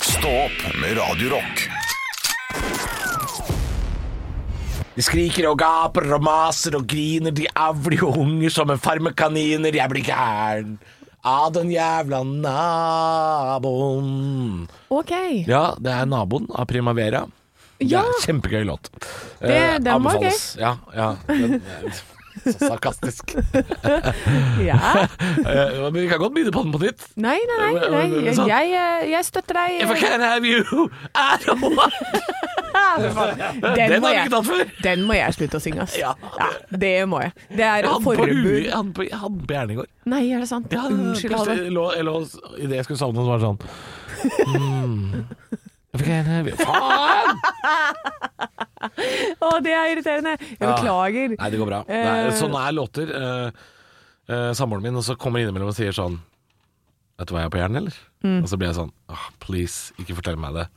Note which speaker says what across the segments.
Speaker 1: Stå opp med Radio Rock.
Speaker 2: De skriker og gaper og maser og griner, de avler jo unger som en farmekaniner, jeg blir gæren av den jævla naboen.
Speaker 3: Ok.
Speaker 2: Ja, det er naboen av Primavera.
Speaker 3: Ja.
Speaker 2: Det er kjempegøy låt. Eh,
Speaker 3: Det- den var
Speaker 2: anbefales. Ja, ja. Den, er så sarkastisk.
Speaker 3: ja.
Speaker 2: Eh, men vi kan godt begynne på den på nytt.
Speaker 3: Nei, nei, nei. nei. Jeg, eh, jeg støtter deg.
Speaker 2: If I can have you, I don't want Den
Speaker 3: eh, må
Speaker 2: har vi
Speaker 3: jeg-
Speaker 2: ikke tatt før.
Speaker 3: Den må jeg slutte å synge, ass.
Speaker 2: Ja.
Speaker 3: det må jeg. Det er
Speaker 2: Jeg hadde på huet,
Speaker 3: forbud.
Speaker 2: jeg hadde på, jeg hadde den på hjernen i går.
Speaker 3: Nei, er det sant?
Speaker 2: Ja,
Speaker 3: Unnskyld,
Speaker 2: plutselig
Speaker 3: Halvor.
Speaker 2: lå, jeg lå i det jeg skulle sovne, så var det sånn mm. If I can have you Faen!
Speaker 3: Å, det er irriterende. Jeg beklager.
Speaker 2: Nei, det går bra.
Speaker 3: Eh.
Speaker 2: Nei, sånn er låter. Uh, Samboeren min og så kommer innimellom og sier sånn Vet du hva jeg har på hjernen, eller? Og så blir jeg sånn ah, Please, ikke fortell meg det.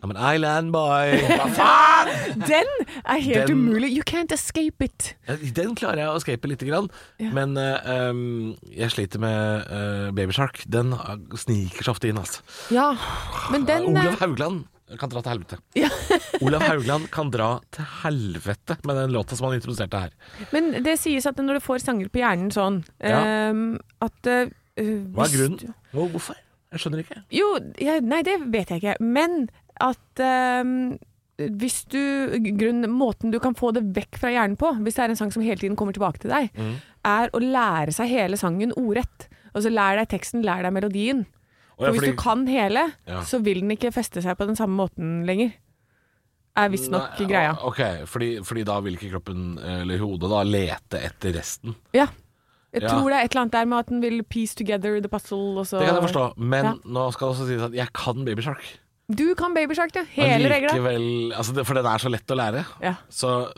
Speaker 2: I'm an island boy. Hva faen?
Speaker 3: Den er helt
Speaker 2: Den-
Speaker 3: umulig. You can't escape it.
Speaker 2: Den klarer jeg å escape lite grann,
Speaker 3: Ja.
Speaker 2: men eh, um, jeg sliter med eh, Baby Shark. Den eh, sniker seg ofte inn, altså.
Speaker 3: Ja, men den eh,
Speaker 2: Olav Haugland kan dra til helvete.
Speaker 3: ja.
Speaker 2: Olav Haugland kan dra til helvete med den låta som han introduserte her.
Speaker 3: eh, Men det sies at når du får sanger på hjernen sånn
Speaker 2: Ja.
Speaker 3: ehm, At eh,
Speaker 2: Hva er
Speaker 3: hvis-
Speaker 2: grunnen? Hvor- Hvorfor? Jeg skjønner ikke.
Speaker 3: Jo, jeg, nei, det vet jeg ikke. Men at ehm, hvis du grunn, Måten du kan få det vekk fra hjernen på, hvis det er en sang som hele tiden kommer tilbake til deg,
Speaker 2: Mm.
Speaker 3: er å lære seg hele sangen ordrett. Altså lær deg teksten, lær deg melodien.
Speaker 2: Og
Speaker 3: For
Speaker 2: jeg-
Speaker 3: hvis du kan hele,
Speaker 2: Ja.
Speaker 3: så vil den ikke feste seg på den samme måten lenger. Er visstnok
Speaker 2: Nei,
Speaker 3: greia.
Speaker 2: Ok, fordi, fordi da vil ikke kroppen, eller hodet, da lete etter resten.
Speaker 3: Ja. Jeg
Speaker 2: Ja.
Speaker 3: tror det er et eller annet der med at den vil piece together the puzzle og så
Speaker 2: Det kan jeg forstå, men
Speaker 3: Ja.
Speaker 2: nå skal det også sies at jeg kan Baby Shark.
Speaker 3: Du kan babyshark, du. Hele regla.
Speaker 2: Allikevel- altså det, for den er så lett å lære.
Speaker 3: Ja.
Speaker 2: Så,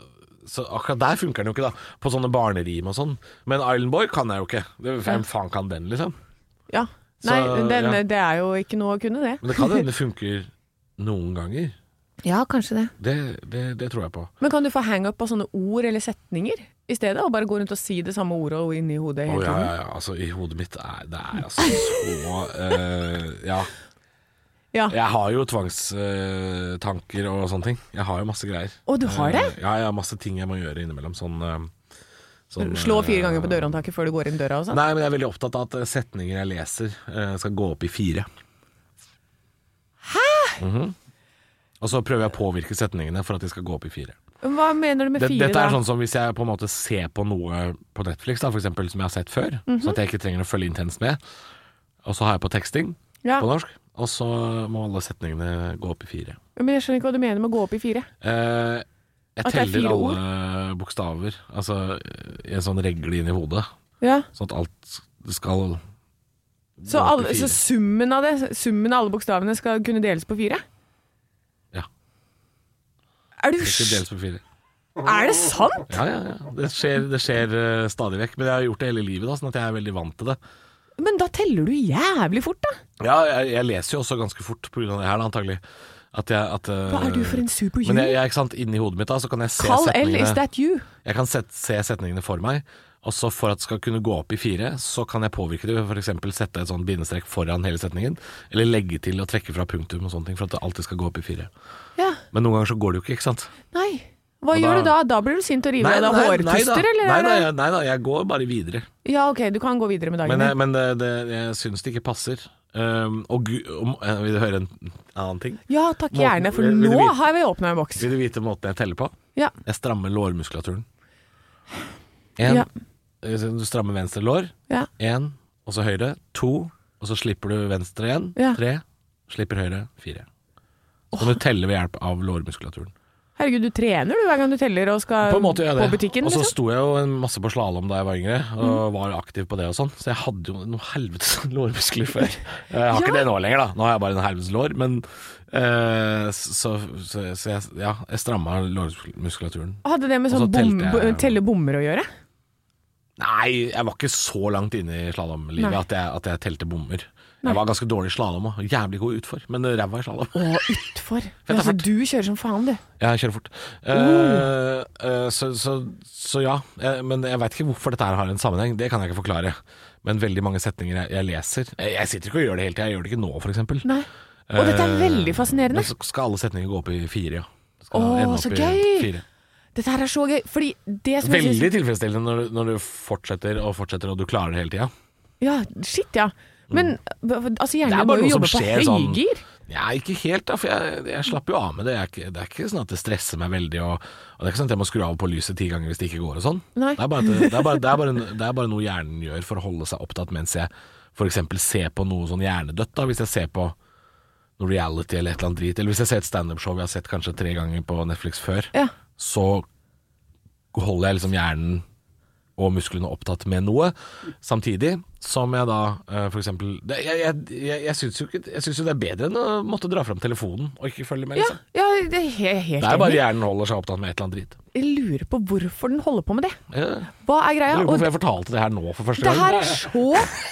Speaker 2: så akkurat der funker den jo ikke, da. På sånne barnerim og sånn. Men Island Boy kan jeg jo ikke. Det- Hvem faen kan den, liksom?
Speaker 3: Ja.
Speaker 2: Så,
Speaker 3: Nei, den,
Speaker 2: ja.
Speaker 3: det er jo ikke noe å kunne, det.
Speaker 2: Men det kan hende det funker noen ganger.
Speaker 3: Ja, kanskje det.
Speaker 2: Det, det, det tror jeg på.
Speaker 3: Men kan du få hangup på sånne ord eller setninger i stedet? Og bare gå rundt og si det samme ordet og inni hodet
Speaker 2: Å
Speaker 3: hele
Speaker 2: ja,
Speaker 3: tiden?
Speaker 2: ja, ja. Altså, i hodet mitt er det er altså så eh, Ja.
Speaker 3: ja.
Speaker 2: Jeg har jo tvangstanker og sånne ting. Jeg har jo masse greier.
Speaker 3: Å, du har det?
Speaker 2: Eh, Ja, jeg har masse ting jeg må gjøre innimellom. Sånn, eh, sånn,
Speaker 3: Slå fire
Speaker 2: eh,
Speaker 3: ganger på dørhåndtaket før du går inn døra og sånn?
Speaker 2: Nei, men jeg er veldig opptatt av at eh, setninger jeg leser, eh, skal gå opp i fire. Hæ?! Og så prøver jeg å påvirke setningene for at de skal gå opp i fire.
Speaker 3: Hva mener du med
Speaker 2: Det,
Speaker 3: fire,
Speaker 2: dette er
Speaker 3: da?
Speaker 2: sånn som hvis jeg på en måte ser på noe på Netflix, da, for eksempel, som jeg har sett før,
Speaker 3: Mhm.
Speaker 2: så at jeg ikke trenger å følge intenst med. Og så har jeg på teksting
Speaker 3: ja.
Speaker 2: på norsk, og så må alle setningene gå opp i fire.
Speaker 3: Men jeg skjønner ikke hva du mener med å gå opp i fire.
Speaker 2: Eh, jeg
Speaker 3: At det er
Speaker 2: teller
Speaker 3: fire
Speaker 2: alle bokstaver altså, i en sånn regle inn i hodet,
Speaker 3: Ja.
Speaker 2: sånn at alt skal gå opp i
Speaker 3: Så, alle,
Speaker 2: fire.
Speaker 3: så summen av det, summen av alle bokstavene skal kunne deles på fire?
Speaker 2: Ja.
Speaker 3: Er, du,
Speaker 2: Det skal
Speaker 3: sj-
Speaker 2: deles på fire.
Speaker 3: er det sant?
Speaker 2: Ja, ja, ja. Det skjer, det skjer eh, stadig vekk. Men jeg har gjort det hele livet, da, sånn at jeg er veldig vant til det.
Speaker 3: Men da teller du jævlig fort, da.
Speaker 2: Ja, jeg, jeg leser jo også ganske fort pga. det her, da, antagelig. At jeg, at, eh,
Speaker 3: Hva er du for en superhuman?
Speaker 2: Men jeg, jeg, ikke sant, inni hodet mitt da, så kan jeg se
Speaker 3: Kall L, is
Speaker 2: setningene
Speaker 3: that you?
Speaker 2: Jeg kan set, se setningene for meg, og så for at det skal kunne gå opp i fire, så kan jeg påvirke det ved f.eks. sette et sånn bindestrek foran hele setningen, eller legge til og trekke fra punktum og sånne ting, for at det alltid skal gå opp i fire.
Speaker 3: Ja.
Speaker 2: Men noen ganger så går det jo ikke, ikke sant?
Speaker 3: Nei. Hva
Speaker 2: Og
Speaker 3: gjør
Speaker 2: da-
Speaker 3: du da? Da blir du sint og river av deg
Speaker 2: da.
Speaker 3: hårpuster, eller?
Speaker 2: Nei,
Speaker 3: er
Speaker 2: da,
Speaker 3: det-
Speaker 2: jeg, nei da, jeg går bare videre.
Speaker 3: Ja, ok, du kan gå videre med dagen
Speaker 2: Men,
Speaker 3: din.
Speaker 2: jeg- men det, det, jeg syns det ikke passer. Um, og gu, om, eh, vil du høre en annen ting?
Speaker 3: Ja, takk
Speaker 2: Morten,
Speaker 3: gjerne, for
Speaker 2: vil- vil du
Speaker 3: nå
Speaker 2: vite-
Speaker 3: har vi åpna en boks.
Speaker 2: Vil du vite måten jeg teller på?
Speaker 3: Ja.
Speaker 2: Jeg strammer lårmuskulaturen. En,
Speaker 3: Ja.
Speaker 2: eh, så Du strammer venstre lår.
Speaker 3: Ja.
Speaker 2: Én, og så høyre. To, og så slipper du venstre igjen.
Speaker 3: Ja.
Speaker 2: Tre, slipper høyre. Fire. Så kan du telle ved hjelp av lårmuskulaturen.
Speaker 3: Herregud, du trener du hver gang du teller og skal
Speaker 2: På en måte gjør jeg det.
Speaker 3: butikken,
Speaker 2: og så
Speaker 3: liksom? Mm.
Speaker 2: sto jeg jo en masse på slalåm da jeg var yngre, og var aktiv på det og sånn. Så jeg hadde jo noe helvetes lårmuskler før. Jeg har ikke
Speaker 3: Ja.
Speaker 2: det nå lenger, da. Nå har jeg bare en helvetes lår. Men eh, så, så, så jeg, ja, jeg stramma lårmuskulaturen.
Speaker 3: Hadde det
Speaker 2: Og
Speaker 3: med
Speaker 2: så
Speaker 3: sånn bom,
Speaker 2: telte jeg-
Speaker 3: bo- telle bommer å gjøre?
Speaker 2: Nei, jeg var ikke så langt inne i slalåmlivet
Speaker 3: Nei.
Speaker 2: at, jeg- at jeg telte bommer. Jeg var ganske dårlig i slalåm og jævlig god utfor, men ræva i slalåm.
Speaker 3: Å, utfor.
Speaker 2: da,
Speaker 3: Altså,
Speaker 2: fart.
Speaker 3: du kjører som faen, du.
Speaker 2: Jeg kjører fort. Eh,
Speaker 3: Oh.
Speaker 2: eh, så, så, så ja, eh, men jeg veit ikke hvorfor dette her har en sammenheng, det kan jeg ikke Eh, forklare. Men veldig mange setninger jeg, jeg leser jeg, jeg sitter ikke og gjør det hele tida, jeg gjør det ikke nå f.eks.
Speaker 3: Nei. Og dette er
Speaker 2: Eh,
Speaker 3: veldig fascinerende.
Speaker 2: Men så skal alle setninger gå opp i fire, ja. Det Skal
Speaker 3: Åh,
Speaker 2: ende opp
Speaker 3: så
Speaker 2: i
Speaker 3: gøy!
Speaker 2: Fire.
Speaker 3: Dette her er så gøy. Fordi det som jeg
Speaker 2: Veldig
Speaker 3: synes,
Speaker 2: tilfredsstillende når, du- når du fortsetter og fortsetter, og du klarer det hele tida.
Speaker 3: Ja, shit, ja. Men
Speaker 2: Mm.
Speaker 3: altså,
Speaker 2: Det er
Speaker 3: hjernen
Speaker 2: bare
Speaker 3: må jo
Speaker 2: noe som
Speaker 3: jobbe på
Speaker 2: skjer sånn-
Speaker 3: høygir.
Speaker 2: Ja, ikke helt, da, for jeg, jeg slapper jo av med det. Jeg, er ikke- det er ikke sånn at det stresser meg veldig, og, og det er ikke sånn at jeg må skru av på lyset ti ganger hvis det ikke går og sånn.
Speaker 3: Nei.
Speaker 2: Det, er bare at det, det, er bare, det, er bare, det er bare noe hjernen gjør for å holde seg opptatt mens jeg f.eks. ser på noe sånn hjernedødt, da, hvis jeg ser på noe reality eller et eller annet drit, eller hvis jeg ser et standup-show jeg har sett kanskje tre ganger på Netflix før,
Speaker 3: Ja.
Speaker 2: så holder jeg liksom hjernen og musklene opptatt med noe, samtidig som jeg da eh, for eksempel det, Jeg, jeg, jeg, jeg syns jo, ikke- jeg syns jo det er bedre enn å måtte dra fram telefonen og ikke følge med,
Speaker 3: Ja,
Speaker 2: liksom.
Speaker 3: ja, det er he- helt
Speaker 2: Det er bare
Speaker 3: enig.
Speaker 2: hjernen holder seg opptatt med et eller annet drit.
Speaker 3: Jeg lurer på hvorfor den holder på med det.
Speaker 2: Jeg,
Speaker 3: Hva er
Speaker 2: jeg
Speaker 3: greia?
Speaker 2: lurer på
Speaker 3: Og
Speaker 2: hvorfor jeg fortalte det her nå for første
Speaker 3: det her
Speaker 2: gang.
Speaker 3: er så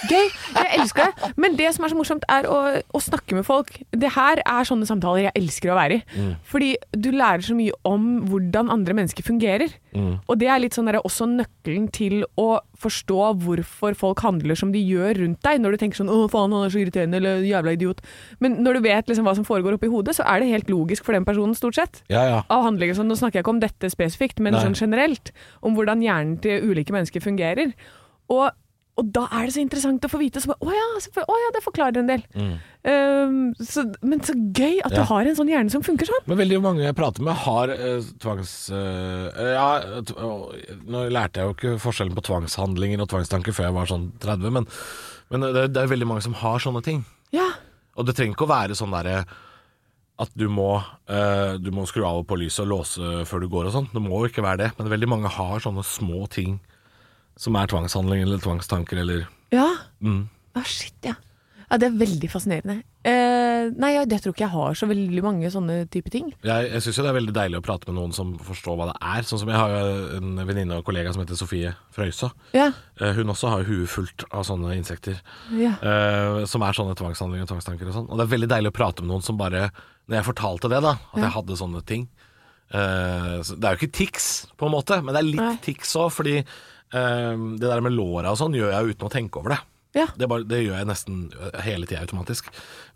Speaker 3: gøy! Jeg elsker det. Men det som er så morsomt, er å, å snakke med folk. Det her er sånne samtaler jeg elsker å være i.
Speaker 2: Mm.
Speaker 3: Fordi du lærer så mye om hvordan andre mennesker fungerer.
Speaker 2: Mm.
Speaker 3: Og det er litt sånn der, også nøkkelen til å forstå hvorfor folk handler som de gjør rundt deg. Når du tenker sånn 'Å, faen, han er så irriterende', eller 'jævla idiot'. Men når du vet liksom hva som foregår oppi hodet, så er det helt logisk for den personen, stort sett
Speaker 2: Ja, ja.
Speaker 3: av handlinger. Sånn, nå snakker jeg ikke om dette spesifikt, men
Speaker 2: Nei.
Speaker 3: sånn generelt. Om hvordan hjernen til ulike mennesker fungerer. Og, og da er det så interessant å få vite. Så bare, å, ja, så, for- å ja, det forklarer en del. Um, så, men så gøy
Speaker 2: Mm.
Speaker 3: at
Speaker 2: Ja.
Speaker 3: du har en sånn hjerne som funker sånn.
Speaker 2: Men veldig mange jeg prater med har eh, tvangs... eh, ja, t å, nå lærte jeg jo ikke forskjellen på tvangshandlinger og tvangstanker før jeg var sånn 30, men, men det, det er veldig mange som har sånne ting.
Speaker 3: Ja,
Speaker 2: Og det trenger ikke å være sånn derre at du må, eh, du må skru av og på lyset og låse før du går og sånn. Det må jo ikke være det, men veldig mange har sånne små ting som er tvangshandlinger eller tvangstanker eller
Speaker 3: ja.
Speaker 2: mm.
Speaker 3: Å, shit, ja. Ja, Det er veldig fascinerende. Eh, nei, jeg, jeg tror ikke jeg har så veldig mange sånne type ting.
Speaker 2: Jeg, jeg syns jo det er veldig deilig å prate med noen som forstår hva det er. Sånn som jeg har jo en venninne og kollega som heter Sofie Frøysaa.
Speaker 3: Ja,
Speaker 2: Eh, Hun også har jo huet fullt av sånne insekter,
Speaker 3: ja.
Speaker 2: eh, som er sånne tvangshandlinger og tvangstanker og sånn. Og det er veldig deilig å prate med noen som bare Når jeg fortalte det, da, at jeg hadde sånne ting eh, så Det er jo ikke tics, på en måte, men det er litt
Speaker 3: Nei.
Speaker 2: tics òg, fordi eh, det der med låra og sånn gjør jeg uten å tenke over det.
Speaker 3: ja.
Speaker 2: Det, er bare, det gjør jeg nesten eh, hele tida automatisk,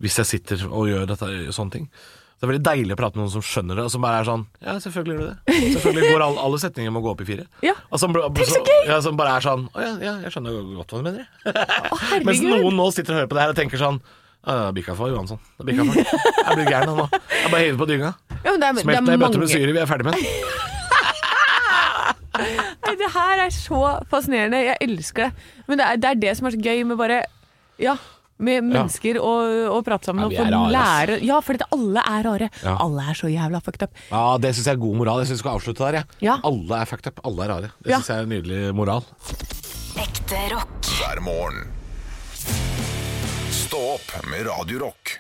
Speaker 2: hvis jeg sitter og gjør dette, sånne ting. Det er veldig deilig å prate med noen som skjønner det, og som bare er sånn Ja, selvfølgelig gjør du det. Selvfølgelig går alle, alle setninger må gå opp i fire.
Speaker 3: Ja.
Speaker 2: Og som,
Speaker 3: Tenk så
Speaker 2: så-
Speaker 3: gøy!
Speaker 2: Ja, som bare er sånn Å ja, ja, jeg skjønner godt hva du mener. jeg».
Speaker 3: Å,
Speaker 2: Mens
Speaker 3: herregud.
Speaker 2: noen nå sitter og hører på det her og tenker sånn «Ja, det er Bikka for Johansson. Det er bikka for. Jeg blir gæren nå. Jeg bare hiver på dynga.
Speaker 3: ja, men det er,
Speaker 2: Smelt
Speaker 3: det
Speaker 2: ned
Speaker 3: er
Speaker 2: i bøtter
Speaker 3: mange,
Speaker 2: med syre, vi er ferdig med den.
Speaker 3: Nei, det her er så fascinerende. Jeg elsker det. Men det er det, er det som er så gøy med bare Ja. Med mennesker og, og prate sammen
Speaker 2: Ja,
Speaker 3: og
Speaker 2: vi
Speaker 3: få
Speaker 2: er rare, ass.
Speaker 3: lære Ja, for dette, alle er rare.
Speaker 2: Ja.
Speaker 3: Alle er så jævla fucked up.
Speaker 2: Ja, det syns jeg er god moral. Jeg syns vi skal avslutte der, jeg.
Speaker 3: Ja.
Speaker 2: Alle er fucked up. Alle er rare. Det
Speaker 3: Ja.
Speaker 2: syns jeg er en nydelig moral.
Speaker 4: Ekte rock.
Speaker 1: hver morgen. Stå opp med Radio Rock.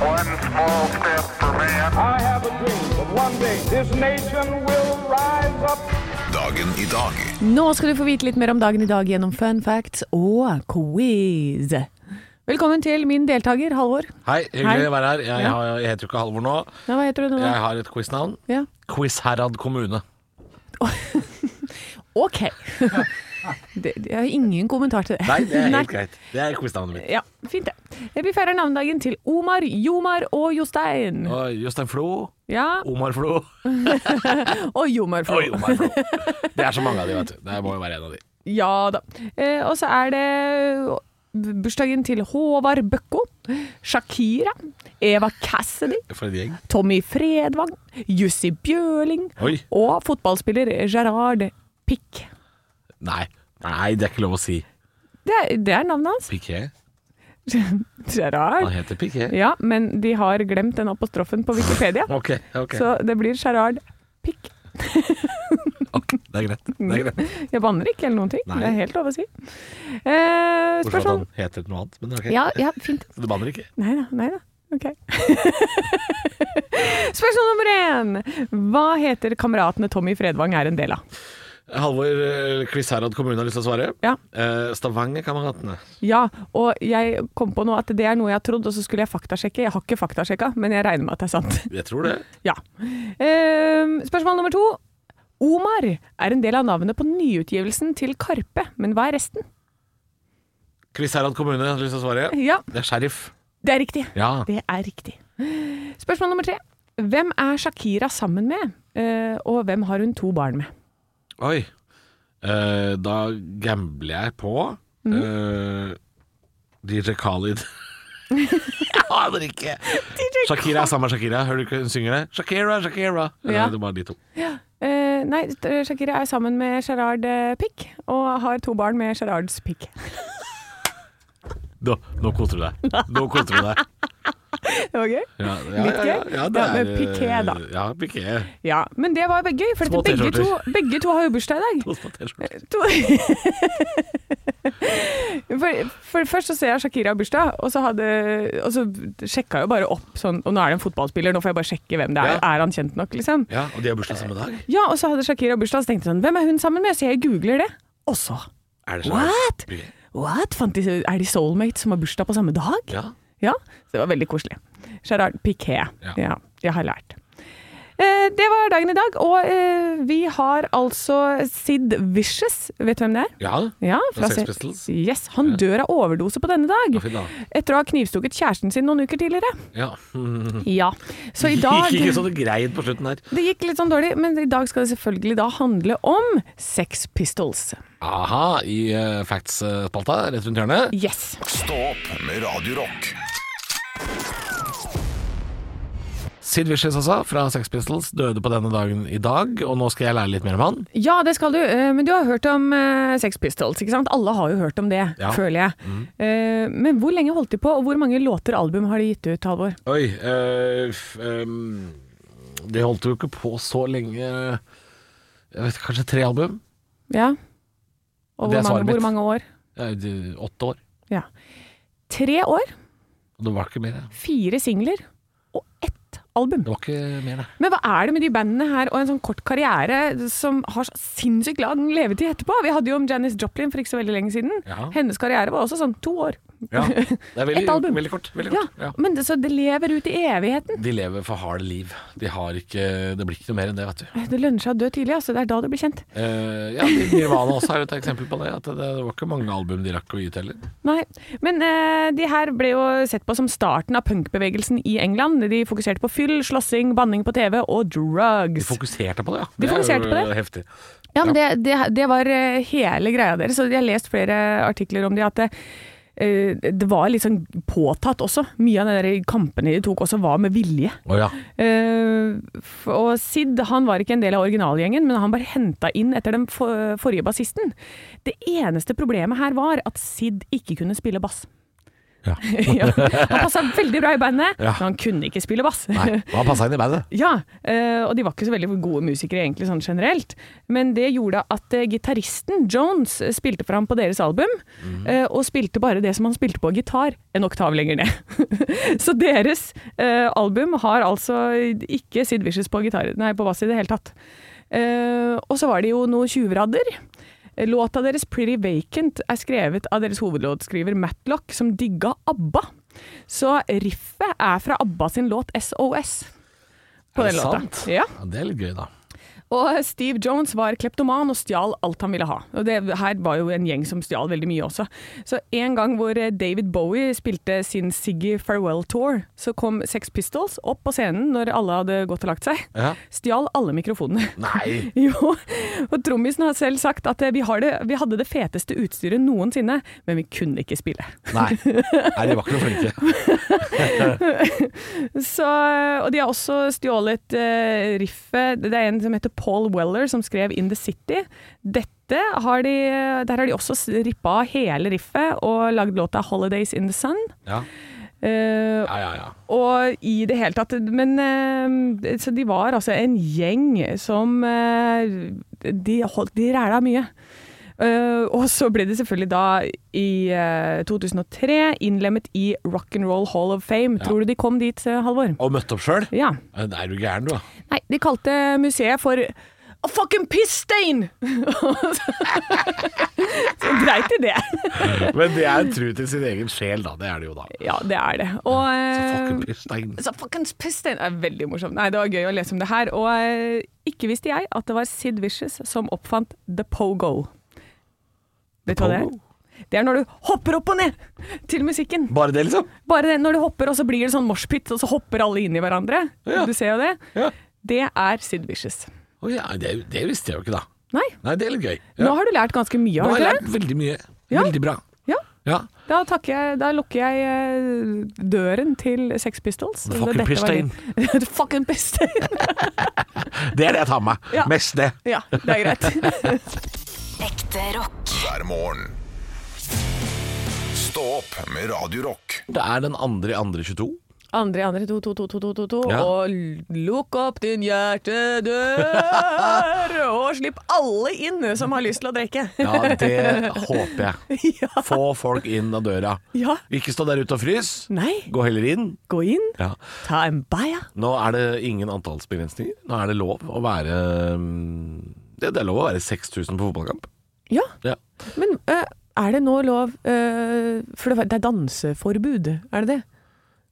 Speaker 5: One small step for man.
Speaker 6: I have a dream that one day this nation will rise up.
Speaker 1: Dagen i dag
Speaker 3: Nå skal du få vite litt mer om dagen i dag gjennom fun facts og quiz. Velkommen til min deltaker, Halvor.
Speaker 2: Hei, hyggelig
Speaker 3: Hei.
Speaker 2: å være her. Jeg,
Speaker 3: Ja.
Speaker 2: har, jeg heter jo ikke Halvor nå.
Speaker 3: Ja, hva heter du nå?
Speaker 2: Jeg har et quiznavn.
Speaker 3: Ja.
Speaker 2: Quizherad kommune.
Speaker 3: OK. det, jeg har ingen kommentar til det.
Speaker 2: greit. Det er quiznavnet mitt.
Speaker 3: Ja, fint det. Vi feirer navnedagen til Omar, Jomar og Jostein.
Speaker 2: Og Jostein Flo.
Speaker 3: Ja,
Speaker 2: Omar Flo.
Speaker 3: og Jomar. for
Speaker 2: Og Omar Flo. Det er så mange av de, vet du. Det må jo være en av de.
Speaker 3: Ja da. Eh, og så er det eh, bursdagen til Håvard Bøkko, Shakira, Eva Cassidy,
Speaker 2: For en gjeng.
Speaker 3: Tommy Fredvang, Jussi Bjørling
Speaker 2: Oi.
Speaker 3: og fotballspiller Gerard Pick.
Speaker 2: Nei. Nei, det er ikke lov å si.
Speaker 3: Det er, det er navnet hans.
Speaker 2: Piqué. Han
Speaker 3: Gerard.
Speaker 2: heter Piqué.
Speaker 3: Ja, men de har glemt den apostrofen på Wikipedia,
Speaker 2: Ok, ok.
Speaker 3: så det blir Gerard Pick.
Speaker 2: ok. Det er greit. Det er greit.
Speaker 3: Jeg banner ikke eller noen ting.
Speaker 2: Nei.
Speaker 3: Det er helt lov å si.
Speaker 2: Bortsett
Speaker 3: Eh,
Speaker 2: fra at
Speaker 3: spørsmål?
Speaker 2: han heter noe annet, men ok.
Speaker 3: Ja, ja, fint.
Speaker 2: Du banner ikke?
Speaker 3: Nei da, nei da. Ok. Spørsmål nummer én. Hva heter kameratene Tommy Fredvang er en del av?
Speaker 2: Halvor eh, Quizherad kommune har lyst til å svare.
Speaker 3: Ja.
Speaker 2: Eh, Stavanger-kameratene.
Speaker 3: Ja, og jeg kom på nå at det er noe jeg har trodd, og så skulle jeg faktasjekke. Jeg har ikke faktasjekka, men jeg regner med at det er sant.
Speaker 2: Jeg tror det.
Speaker 3: Ja. Ehm, spørsmål nummer to. Omar er en del av navnet på nyutgivelsen til Karpe, men hva er resten?
Speaker 2: Quizherad kommune har lyst til å svare.
Speaker 3: Ja,
Speaker 2: Det er sheriff.
Speaker 3: Det er riktig.
Speaker 2: Ja.
Speaker 3: Det er riktig. Spørsmål nummer tre. Hvem er Shakira sammen med, eh, og hvem har hun to barn med?
Speaker 2: Oi. Eh, da gambler jeg på
Speaker 3: Mm.
Speaker 2: eh, DJ Khalid. jeg aner ikke. Shakira er samme Shakira. Hører du ikke hun synger det? Shakira, Shakira.
Speaker 3: Ja.
Speaker 2: Nei, det er bare de to.
Speaker 3: Eh, nei, t- Shakira er sammen med Gerard eh, Pick, og har to barn med Gerards Pick.
Speaker 2: Nå, nå koser du deg. Nå koser du deg.
Speaker 3: Det var gøy.
Speaker 2: Ja, eh,
Speaker 3: Litt gøy. Ja, med piqué, da.
Speaker 2: Ja, piqué.
Speaker 3: Ja, men det var gøy, for
Speaker 2: Små
Speaker 3: at begge to,
Speaker 2: T-skjorter.
Speaker 3: begge to har jo bursdag i dag.
Speaker 2: To små T-skjorter.
Speaker 3: To. For, for Først så ser jeg Shakira har bursdag, og så, hadde, og så sjekka jeg jo bare opp sånn Og nå er det en fotballspiller, nå får jeg bare sjekke hvem det er.
Speaker 2: Ja.
Speaker 3: Er han kjent nok, liksom?
Speaker 2: Ja, og de har bursdag samme dag?
Speaker 3: Ja, og så hadde Shakira bursdag, så tenkte jeg sånn Hvem er hun sammen med? Så jeg googler det. Og så
Speaker 2: Er det
Speaker 3: What?
Speaker 2: Piqué?
Speaker 3: What? Fant de, er de soulmates som har bursdag på samme dag?
Speaker 2: Ja.
Speaker 3: Ja, så det var veldig koselig. Gerard Piqué.
Speaker 2: Ja.
Speaker 3: Ja. jeg har lært. Eh, det var dagen i dag, og eh, vi har altså Sid Vicious. Vet du hvem det er?
Speaker 2: ja.
Speaker 3: Ja,
Speaker 2: Fra
Speaker 3: Se-
Speaker 2: Sex Pistols.
Speaker 3: Yes, han dør av overdose på denne dag.
Speaker 2: Ja, fy da.
Speaker 3: Etter å ha knivstukket kjæresten sin noen uker tidligere.
Speaker 2: ja.
Speaker 3: Ja. Så i dag
Speaker 2: Mm. Ikke sånn greit på slutten her.
Speaker 3: Det gikk litt sånn dårlig, men i dag skal det selvfølgelig da handle om Sex Pistols.
Speaker 2: Aha, i eh, Facts-spalta rett rundt hjørnet.
Speaker 3: Yes.
Speaker 1: Stå opp med Radio Rock.
Speaker 2: Sid Vicious altså, fra Sex Pistols, døde på denne dagen i dag, og nå skal jeg lære litt mer om han.
Speaker 3: Ja, det skal du. eh, Men du har hørt om eh, Sex Pistols, ikke sant? Alle har jo hørt om det,
Speaker 2: Ja. Mm.
Speaker 3: føler jeg. Eh, Men hvor lenge holdt de på, og hvor mange låter og album har de gitt ut, Halvor?
Speaker 2: Oi, eh, f- ehm, det holdt jo ikke på så lenge Jeg vet ikke, kanskje tre album?
Speaker 3: Ja. Og
Speaker 2: Det er
Speaker 3: hvor
Speaker 2: svaret
Speaker 3: mange,
Speaker 2: mitt.
Speaker 3: hvor mange år?
Speaker 2: Ja, de- Åtte år.
Speaker 3: Ja. Tre år,
Speaker 2: Og Det var ikke mer, ja.
Speaker 3: fire singler og ett album.
Speaker 2: det. Var ikke mer det.
Speaker 3: Men hva er det med de bandene her og en sånn kort karriere som har så sinnssykt lang levetid etterpå? Vi hadde jo om Janis Joplin for ikke så veldig lenge siden.
Speaker 2: Ja.
Speaker 3: Hennes karriere var også sånn to år.
Speaker 2: Ja. Det er
Speaker 3: Ett
Speaker 2: veldig,
Speaker 3: album.
Speaker 2: veldig kort. Veldig
Speaker 3: Ja,
Speaker 2: kort. Ja. Mm.
Speaker 3: Men det, så det lever ut i evigheten.
Speaker 2: De lever for harde liv. De har ikke, det blir ikke noe mer enn det, vet du.
Speaker 3: Eh, Det lønner seg å dø tidlig, altså. Det er da du blir kjent.
Speaker 2: Eh, ja, Nirvana også er jo et eksempel på det. At det, det var ikke mange album de rakk å gi ut heller.
Speaker 3: Nei. Men eh, de her ble jo sett på som starten av punkbevegelsen i England. De fokuserte på fyll, slåssing, banning på TV og
Speaker 2: De
Speaker 3: drugs.
Speaker 2: fokuserte på det, ja.
Speaker 3: De fokuserte på
Speaker 2: er jo heftig.
Speaker 3: Ja, men det, det, det var eh, hele greia deres, og jeg har lest flere artikler om det, at det, eh, det var litt sånn påtatt også. Mye av de der kampene de tok også var med vilje.
Speaker 2: Å ja.
Speaker 3: Eh, f- og Sid han var ikke en del av originalgjengen, men han bare henta inn etter den for, forrige bassisten. Det eneste problemet her var at Sid ikke kunne spille bass.
Speaker 2: Ja.
Speaker 3: Ja, han passa veldig bra i bandet,
Speaker 2: Ja.
Speaker 3: men han kunne ikke spille bass.
Speaker 2: Nei, han passa inn i bandet.
Speaker 3: Ja, eh, og de var ikke så veldig gode musikere egentlig sånn generelt, men det gjorde at eh, gitaristen Jones eh, spilte for ham på deres album, eh, og spilte bare det som han spilte på gitar, en oktav lenger ned. så deres eh, album har altså ikke Sid Vicious på, gitar, nei, på bass i det hele tatt. Eh, og så var det jo noe tjuvradder. Låta deres 'Pretty Vacant' er skrevet av deres hovedlåtskriver Matlock, som digga ABBA. Så riffet er fra ABBA sin låt 'SOS' på
Speaker 2: Er
Speaker 3: den
Speaker 2: det
Speaker 3: låta.
Speaker 2: sant?
Speaker 3: Ja.
Speaker 2: Ja, det er litt gøy, da.
Speaker 3: Og Steve Jones var kleptoman og stjal alt han ville ha. Og det her var jo en gjeng som stjal veldig mye også. Så en gang hvor eh, David Bowie spilte sin Siggy Farewell Tour, så kom Sex Pistols opp på scenen når alle hadde gått og lagt seg.
Speaker 2: Ja.
Speaker 3: Stjal alle mikrofonene.
Speaker 2: Nei.
Speaker 3: Jo, og trommisen har selv sagt at eh, vi, har det, vi hadde det feteste utstyret noensinne, men vi kunne ikke spille.
Speaker 2: Nei. Nei, de var ikke noe flinke.
Speaker 3: Så, og de har også stjålet eh, riffet. Det er en som heter Paul Weller, som skrev 'In the City'. Dette har de, der har de også s- rippa av hele riffet og lagd låta 'Holidays in the Sun'.
Speaker 2: Ja,
Speaker 3: Eh,
Speaker 2: ja, ja. ja.
Speaker 3: og i det hele tatt Men eh, så de var altså en gjeng som eh, De, holdt, de ræla mye. Eh, og så ble de selvfølgelig da i eh, 2003 innlemmet i Rock'n'Roll Hall of Fame.
Speaker 2: Ja.
Speaker 3: Tror du de kom dit, eh, Halvor?
Speaker 2: Og møtte opp sjøl?
Speaker 3: Ja.
Speaker 2: Er du gæren, du, da?
Speaker 3: Nei, de kalte museet for A fucking piss stain! Så greit i det.
Speaker 2: Men det er en tru til sin egen sjel, da. Det er det jo, da.
Speaker 3: Ja, det er det. Og,
Speaker 2: Fucking
Speaker 3: eh,
Speaker 2: Pirstein.
Speaker 3: så fucking piss stain! Det er veldig morsomt. Nei, det var gøy å lese om det her. Og eh, ikke visste jeg at det var Sid Vicious som oppfant the pogo. Vet du hva det er?
Speaker 2: Pogo?
Speaker 3: Det er når du hopper opp og ned til musikken.
Speaker 2: Bare det, liksom?
Speaker 3: Bare det, når du hopper, og så blir det sånn moshpit, og så hopper alle inn i hverandre.
Speaker 2: Ja.
Speaker 3: Du ser jo det.
Speaker 2: Ja.
Speaker 3: Det er Sid Vicious.
Speaker 2: Å ja, det, det visste jeg jo ikke, da.
Speaker 3: Nei,
Speaker 2: Nei, det er litt gøy.
Speaker 3: nå
Speaker 2: Ja.
Speaker 3: har du lært ganske mye,
Speaker 2: Nå
Speaker 3: har
Speaker 2: har jeg
Speaker 3: du ikke det?
Speaker 2: lært veldig mye.
Speaker 3: Ja.
Speaker 2: Veldig bra.
Speaker 3: Ja.
Speaker 2: Ja.
Speaker 3: Da, takker jeg, da lukker jeg eh, døren til Sex Pistols.
Speaker 2: The fucking
Speaker 3: Dette var
Speaker 2: Pistain.
Speaker 3: litt- The fucking Pistain.
Speaker 2: Det er det jeg tar med meg.
Speaker 3: Ja.
Speaker 2: Mest det.
Speaker 3: Ja, det er greit.
Speaker 4: Ekte rock.
Speaker 1: hver morgen. Stå opp med Radio Rock.
Speaker 2: Det er den andre i andre 22.
Speaker 3: Andre, andre, to, to, to, to, to, to, to.
Speaker 2: Ja.
Speaker 3: Og l- lukk opp din hjertedør, og slipp alle inn som har lyst til å drikke.
Speaker 2: Ja, det håper jeg.
Speaker 3: Ja.
Speaker 2: Få folk inn av døra.
Speaker 3: Ja.
Speaker 2: Ikke stå der ute og frys.
Speaker 3: Nei.
Speaker 2: Gå heller inn.
Speaker 3: Gå inn,
Speaker 2: Ja.
Speaker 3: ta en bæja.
Speaker 2: Nå er det ingen antallsbegrensninger. Nå er det lov å være mm, Det det er lov å være 6000 på fotballkamp.
Speaker 3: Ja,
Speaker 2: Ja.
Speaker 3: men eh, er det nå lov eh, For det, var- det er danseforbud, er det det?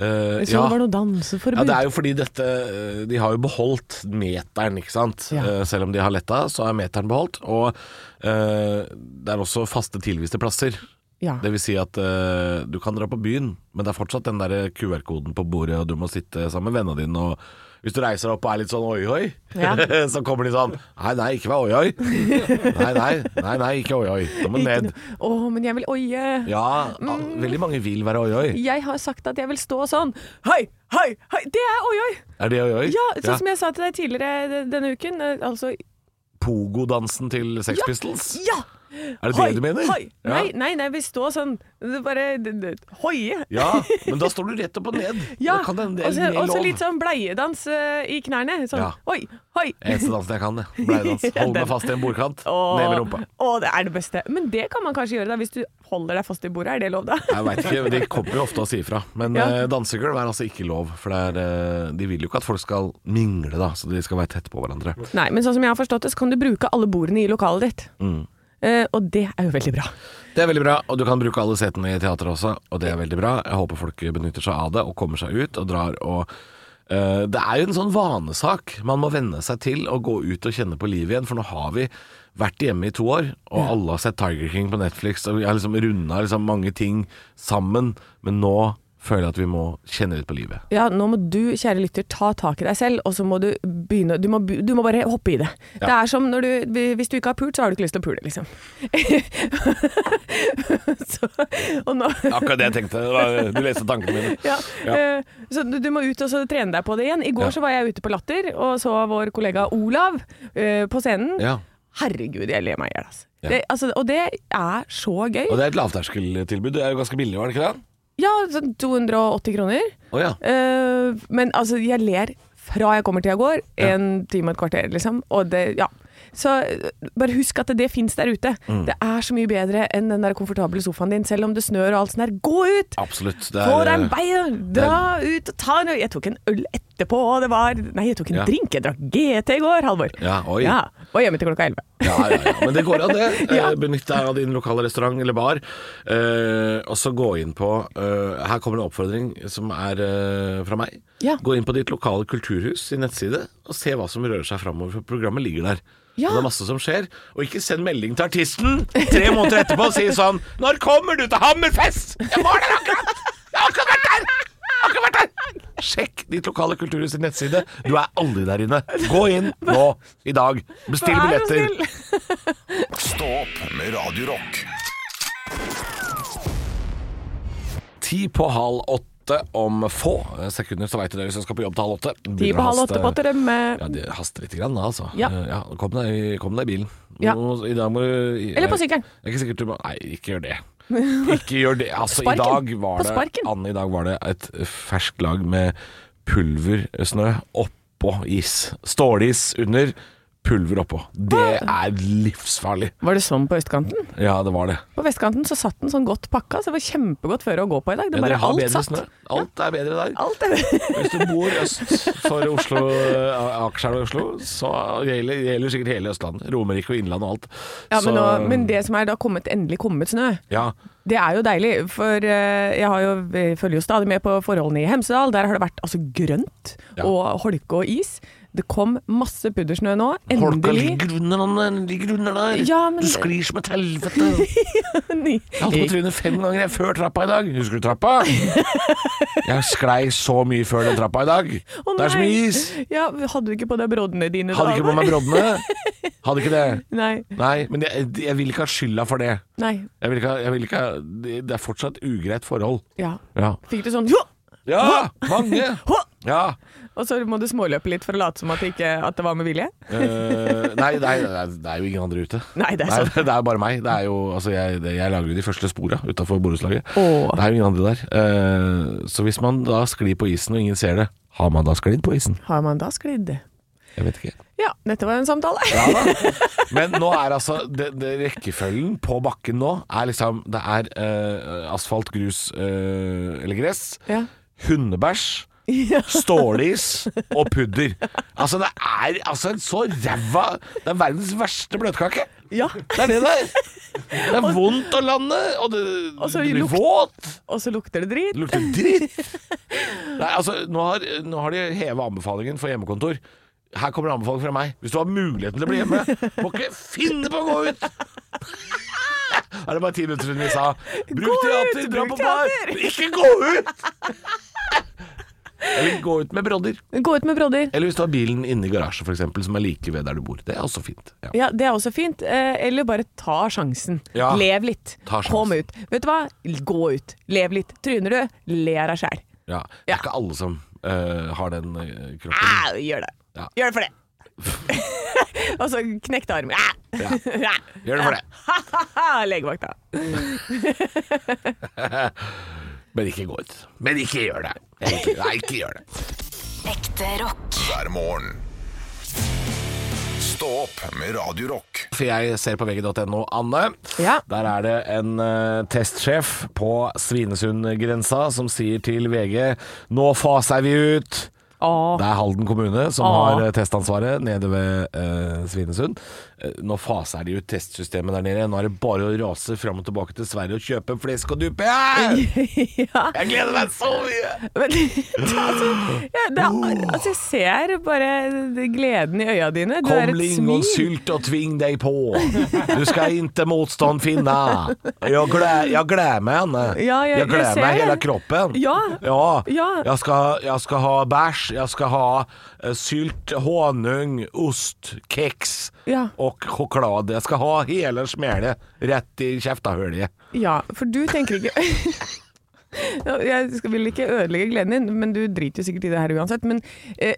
Speaker 2: Eh,
Speaker 3: Jeg så
Speaker 2: ja.
Speaker 3: det var noe danseforbud.
Speaker 2: ja, det er jo fordi dette eh, De har jo beholdt meteren, ikke sant.
Speaker 3: Ja.
Speaker 2: Eh, Selv om de har letta, så er meteren beholdt. Og eh, det er også faste tilviste plasser.
Speaker 3: Ja.
Speaker 2: Det vil si at eh, du kan dra på byen, men det er fortsatt den der QR-koden på bordet, og du må sitte sammen med vennene dine. Og hvis du reiser deg opp og er litt sånn oi-oi,
Speaker 3: Ja.
Speaker 2: så kommer de sånn Nei, nei, ikke vær oi-oi. Nei, nei, nei, nei, ikke oi-oi. Nå må du
Speaker 3: Ikke
Speaker 2: ned.
Speaker 3: noe- Mm. Å, men jeg vil oie.
Speaker 2: Ja, al- veldig mange vil være oi-oi.
Speaker 3: Jeg har sagt at jeg vil stå sånn. Hei, hei, hei. Det er oi, oi.
Speaker 2: Er det oi-oi?
Speaker 3: Ja, sånn som jeg sa til deg tidligere de- denne uken. eh, Altså,
Speaker 2: Pogodansen til Sex Pistols?
Speaker 3: ja!
Speaker 2: Er det
Speaker 3: Hoi,
Speaker 2: det du mener?
Speaker 3: Hoi.
Speaker 2: Ja.
Speaker 3: Nei, nei, nei, vi står sånn det er Bare det- det- hoie.
Speaker 2: Ja, men da står du rett opp og ned.
Speaker 3: Ja,
Speaker 2: Da kan det hende
Speaker 3: og så-
Speaker 2: det
Speaker 3: og
Speaker 2: er
Speaker 3: så
Speaker 2: lov.
Speaker 3: litt sånn bleiedans eh, i knærne. Sånn
Speaker 2: Ja.
Speaker 3: hoi, hoi.
Speaker 2: Eneste dansen jeg kan, det. Bleiedans. Holde meg fast i en bordkant. Ned med rumpa.
Speaker 3: å, det er det beste. Men det kan man kanskje gjøre da, hvis du holder deg fast i bordet. Er det lov, da?
Speaker 2: Jeg veit ikke, de kommer jo ofte og sier fra. Men
Speaker 3: Ja.
Speaker 2: eh, dansegulv er altså ikke lov. For det er, eh, de vil jo ikke at folk skal mingle, da. Så de skal være tett på hverandre.
Speaker 3: Nei, men sånn som jeg har forstått det, så kan du bruke alle bordene i lokalet ditt.
Speaker 2: Mm.
Speaker 3: Eh, og det er jo veldig bra.
Speaker 2: Det er veldig bra, og du kan bruke alle setene i teateret også, og det er veldig bra. Jeg håper folk benytter seg av det og kommer seg ut og drar og eh, Det er jo en sånn vanesak. Man må venne seg til å gå ut og kjenne på livet igjen, for nå har vi vært hjemme i to år, og alle har sett Tiger King på Netflix, og vi har liksom runda liksom mange ting sammen, men nå føler jeg at vi må kjenne litt på livet.
Speaker 3: Ja, nå må du, kjære lytter, ta tak i deg selv, og så må du begynne Du må, be- du må bare hoppe i det. Det er som når du Hvis du ikke har pult, så har du ikke lyst til å pule, liksom. så, og nå
Speaker 2: Akkurat det jeg tenkte. Du leste tankene mine.
Speaker 3: ja.
Speaker 2: Ja.
Speaker 3: eh, Så du, du må ut og så trene deg på det igjen. I går
Speaker 2: Ja.
Speaker 3: så var jeg ute på Latter og så vår kollega Olav eh, på scenen.
Speaker 2: Ja.
Speaker 3: Herregud, jeg ler meg i hjel, altså.
Speaker 2: Ja.
Speaker 3: Det, altså. Og det er så gøy.
Speaker 2: Og det er et lavterskeltilbud. Det er jo ganske billig, var det ikke det?
Speaker 3: Ja, sånn 280 kroner.
Speaker 2: Å ja.
Speaker 3: Eh, men altså, jeg ler fra jeg kommer til jeg går. En time og et kvarter, liksom. Og det, ja. Så eh, bare husk at det fins der ute.
Speaker 2: Mm.
Speaker 3: Det er så mye bedre enn den der komfortable sofaen din, selv om det snør og alt sånt der. Gå ut!
Speaker 2: Absolutt. Det
Speaker 3: Få deg en
Speaker 2: eh,
Speaker 3: bein, dra ut og ta en øl. Jeg tok en øl etterpå, og det var Nei, jeg tok en
Speaker 2: Ja.
Speaker 3: drink. Jeg drakk GT i går, Halvor.
Speaker 2: Ja, oi.
Speaker 3: Ja, og hjemme til klokka elleve.
Speaker 2: Ja, ja, ja. Men det går an, det.
Speaker 3: Ja.
Speaker 2: Eh, Benytt deg av din lokale restaurant eller bar. Eh, og så gå inn på eh, Her kommer en oppfordring som er eh, fra meg.
Speaker 3: Ja.
Speaker 2: Gå inn på ditt lokale kulturhus sin nettside og se hva som rører seg framover, for programmet ligger der.
Speaker 3: Ja.
Speaker 2: Og Det er masse som skjer. Og ikke send melding til artisten tre måneder etterpå og si sånn 'Når kommer du til Hammerfest?' Jeg var der akkurat! Jeg har akkurat vært der! Jeg har akkurat vært der! Sjekk ditt lokale kulturhus sin nettside. Du er aldri der inne. Gå inn nå i dag. Bestill
Speaker 3: Vær så
Speaker 2: billetter.
Speaker 3: snill.
Speaker 1: Stå opp med Radio Rock.
Speaker 2: Ti på halv åtte om få sekunder, så veit du det hvis du skal på jobb til halv åtte.
Speaker 3: Ti
Speaker 2: Begynner
Speaker 3: på
Speaker 2: å
Speaker 3: halv
Speaker 2: haste-
Speaker 3: åtte på Trømme.
Speaker 2: Ja, det haster litt grann, da, altså.
Speaker 3: Ja.
Speaker 2: Eh, ja kom, deg, i- kom deg i bilen.
Speaker 3: Ja.
Speaker 2: Nå- I dag må du
Speaker 3: Eller på sykkelen.
Speaker 2: Det er ikke sikkert du må Nei, ikke gjør det. Ikke gjør det. Altså, i
Speaker 3: Sparken.
Speaker 2: dag var
Speaker 3: På
Speaker 2: det
Speaker 3: sparken.
Speaker 2: Anne, i dag var det et ferskt lag med pulversnø oppå is. Stålis under, pulver oppå. Det er livsfarlig.
Speaker 3: Var det sånn på østkanten?
Speaker 2: Ja, det var det.
Speaker 3: På vestkanten så satt den sånn godt pakka, så det var kjempegodt føre å gå på i dag. Det
Speaker 2: Ja,
Speaker 3: bare
Speaker 2: dere har
Speaker 3: alt
Speaker 2: bedre
Speaker 3: satt.
Speaker 2: snø. Alt er bedre der.
Speaker 3: Alt er
Speaker 2: Hvis du bor øst for Oslo, eh, Akerselv og Oslo, så gjelder, gjelder sikkert hele Østlandet. Romerike og Innlandet og alt.
Speaker 3: ja, men,
Speaker 2: Så-
Speaker 3: nå, men det som er da kommet, endelig kommet snø,
Speaker 2: ja,
Speaker 3: Det er jo deilig, for eh, jeg, har jo, jeg følger jo stadig med på forholdene i Hemsedal. Der har det vært altså grønt
Speaker 2: Ja.
Speaker 3: og holke og is. Det kom masse puddersnø nå.
Speaker 2: Holka
Speaker 3: Endelig.
Speaker 2: ligger under den, ligger under der.
Speaker 3: Ja, men-
Speaker 2: Du sklir som et helvete. Jeg holdt på trynet fem ganger jeg før trappa i dag. Husker du trappa? Jeg sklei så mye før den trappa i dag.
Speaker 3: Å,
Speaker 2: det er så mye
Speaker 3: nei.
Speaker 2: is.
Speaker 3: Ja, hadde du ikke på deg broddene dine?
Speaker 2: Hadde ikke på meg broddene. Hadde ikke det.
Speaker 3: Nei.
Speaker 2: Nei, men jeg, jeg vil ikke ha skylda for det.
Speaker 3: Nei.
Speaker 2: Jeg vil ikke, ha- jeg vil ikke ha, det, det er fortsatt ugreit forhold.
Speaker 3: Ja.
Speaker 2: Ja.
Speaker 3: Fikk du sånn «Hå!
Speaker 2: Ja, mange.
Speaker 3: Hå!»
Speaker 2: Ja.
Speaker 3: Og så må du småløpe litt for å late som at det, ikke, at det var med vilje?
Speaker 2: Eh, nei, det er, det er jo ingen andre ute.
Speaker 3: Nei, det er sånn.
Speaker 2: Nei,
Speaker 3: sant.
Speaker 2: det er bare meg. Det er jo, altså, jeg, det, jeg lager jo de første spora utafor borettslaget.
Speaker 3: Åh.
Speaker 2: Det er jo ingen andre der. Eh, så hvis man da sklir på isen og ingen ser det, har man da sklidd på isen?
Speaker 3: Har man da sklidd?
Speaker 2: Jeg vet ikke.
Speaker 3: Ja, dette var en samtale.
Speaker 2: Ja da. Men nå er altså det, det, rekkefølgen på bakken nå er liksom Det er eh, asfalt, grus eh, eller gress.
Speaker 3: Ja.
Speaker 2: Hundebæsj. Stålis og pudder. Altså, det er altså en så ræva Det er verdens verste bløtkake.
Speaker 3: Ja.
Speaker 2: Det er det der. Det er vondt å lande, og det,
Speaker 3: Og så
Speaker 2: det blir
Speaker 3: lukt-
Speaker 2: våt.
Speaker 3: Og så lukter det dritt.
Speaker 2: Det lukter dritt. Nei, altså, nå har, nå har de heva anbefalingen for hjemmekontor. Her kommer en anbefaling fra meg. Hvis du har muligheten til å bli hjemme, må ikke finne på å gå ut! Er det bare ti minutter siden vi sa 'bruk
Speaker 3: Gå ut,
Speaker 2: teater, dra
Speaker 3: bruk
Speaker 2: på bar',
Speaker 3: teater!»
Speaker 2: ikke gå ut! Eller gå ut med brodder.
Speaker 3: Gå ut med brodder.
Speaker 2: Eller hvis du har bilen inne i garasjen, f.eks., som er like ved der du bor. Det er også fint. Ja.
Speaker 3: Ja, det er også fint. Eh, Eller bare ta sjansen.
Speaker 2: Ja.
Speaker 3: Lev litt.
Speaker 2: Ta sjansen.
Speaker 3: Kom ut. Vet du hva? Gå ut. Lev litt. Tryner du, le av deg sjæl.
Speaker 2: Ja. Det er ikke alle som eh, har den eh, kroppen.
Speaker 3: Au, Gjør det.
Speaker 2: Ja.
Speaker 3: Gjør det for det. Og så knekte armen. Au.
Speaker 2: Ja. Gjør
Speaker 3: Ah.
Speaker 2: det for det.
Speaker 3: Ha, Legevakta.
Speaker 2: Men ikke gå ut. Men ikke gjør det. Ikke- Nei, ikke gjør det.
Speaker 4: Ekte rock.
Speaker 1: hver morgen. Stå opp med Radio Rock.
Speaker 2: For jeg ser på vg.no, Anne.
Speaker 3: Ja.
Speaker 2: Der er det en eh, testsjef på Svinesundgrensa som sier til VG Nå faser vi ut!
Speaker 3: Å,
Speaker 2: Det er Halden kommune som
Speaker 3: Åh.
Speaker 2: har eh, testansvaret nede ved eh, Svinesund. Eh, nå faser de ut testsystemet der nede. Nå er det bare å rase fram og tilbake til Sverige og kjøpe flesk og duppe. Jeg
Speaker 3: ja.
Speaker 2: gleder meg så mye!
Speaker 3: Men altså, ja, det er,
Speaker 2: Oh.
Speaker 3: altså, jeg ser bare gleden i øya dine. Du
Speaker 2: Kom
Speaker 3: er et smil.
Speaker 2: lingonsylt og tving deg på. Du skal ikke motstand finne. Jeg gleder, jeg gleder meg, Anne.
Speaker 3: Ja, jeg-
Speaker 2: jeg gleder
Speaker 3: jeg ser
Speaker 2: meg
Speaker 3: det.
Speaker 2: hele kroppen.
Speaker 3: Ja.
Speaker 2: ja.
Speaker 3: Ja.
Speaker 2: Jeg, skal, jeg skal ha bæsj, jeg skal ha eh, sylt, honning, ost, kjeks
Speaker 3: Ja.
Speaker 2: og sjokolade. Jeg skal ha hele smelet rett i kjeftehullet.
Speaker 3: Ja, for du tenker ikke Ja, Jeg skal- vil ikke ødelegge gleden din, men du driter jo sikkert i det her uansett. Men eh,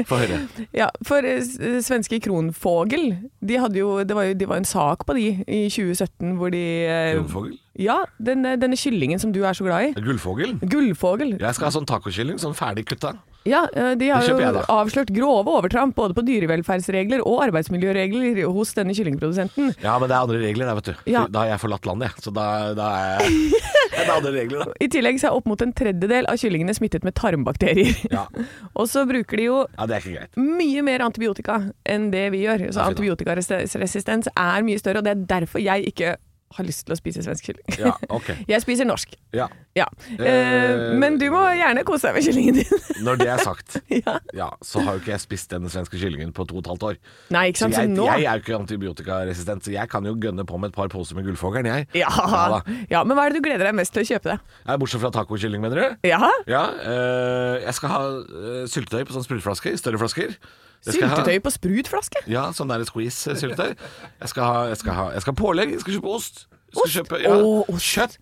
Speaker 2: Få høre.
Speaker 3: ja, for eh, s- svenske Kronfågel, de hadde jo Det var jo de var en sak på de i 2017 hvor de eh,
Speaker 2: Gullfogel?
Speaker 3: Ja, den, eh, denne kyllingen som du er så glad i.
Speaker 2: Gullfogel?
Speaker 3: Gullfågel.
Speaker 2: Jeg skal ha sånn tacokylling, sånn ferdig kutta.
Speaker 3: Ja, eh, de har
Speaker 2: Det kjøper
Speaker 3: jo
Speaker 2: jeg, da.
Speaker 3: avslørt grove overtramp både på dyrevelferdsregler og arbeidsmiljøregler hos denne kyllingprodusenten.
Speaker 2: Ja, men det er andre regler der, vet du.
Speaker 3: Ja.
Speaker 2: Da har jeg forlatt landet, jeg. Så da, da er jeg Det er andre regler, da.
Speaker 3: I tillegg så er opp mot en tredjedel av kyllingene smittet med tarmbakterier.
Speaker 2: Ja.
Speaker 3: og så bruker de jo
Speaker 2: Ja, det er ikke greit.
Speaker 3: mye mer antibiotika enn det vi gjør. Så
Speaker 2: Ja, fy da.
Speaker 3: antibiotikaresistens er mye større, og det er derfor jeg ikke har lyst til å spise svensk kylling.
Speaker 2: Ja, ok.
Speaker 3: Jeg spiser norsk.
Speaker 2: Ja.
Speaker 3: Ja. Eh,
Speaker 2: Eh,
Speaker 3: men du må gjerne kose deg med kyllingen din.
Speaker 2: Når det er sagt,
Speaker 3: ja.
Speaker 2: ja, så har jo ikke jeg spist denne svenske kyllingen på to og et halvt år.
Speaker 3: Nei, ikke
Speaker 2: Så
Speaker 3: sant. Så
Speaker 2: jeg,
Speaker 3: nå
Speaker 2: jeg er jo ikke antibiotikaresistent, så jeg kan jo gønne på med et par poser med gullfogeren, jeg.
Speaker 3: ja.
Speaker 2: Ja da.
Speaker 3: ja, men hva er det du gleder deg mest til å kjøpe deg?
Speaker 2: Ja, Bortsett fra tacokylling, mener du?
Speaker 3: Ja?
Speaker 2: Ja. eh, jeg skal ha eh, syltetøy på sånne sprutflasker, større flasker. Jeg skal ha-
Speaker 3: Syltetøy på sprutflaske?
Speaker 2: Ja, sånn der squeeze-syltetøy. Jeg skal ha jeg skal ha, jeg skal ha pålegg, jeg skal kjøpe ost. Jeg skal
Speaker 3: Ost?
Speaker 2: Kjøpe, ja,
Speaker 3: Å, ost.
Speaker 2: Kjøtt.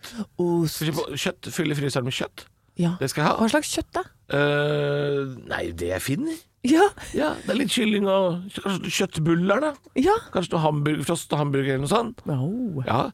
Speaker 3: Ost.
Speaker 2: Skal kjøpe kjøtt. Fylle fryseren med kjøtt.
Speaker 3: Ja.
Speaker 2: Det skal jeg ha.
Speaker 3: Hva slags kjøtt, da?
Speaker 2: Eh, nei, det jeg finner.
Speaker 3: Ja.
Speaker 2: Ja, det er litt kylling og kanskje kjøttbuller, da.
Speaker 3: Ja.
Speaker 2: Kanskje noe hamburger, frost og hamburger eller noe sånt.
Speaker 3: Au.
Speaker 2: Ja,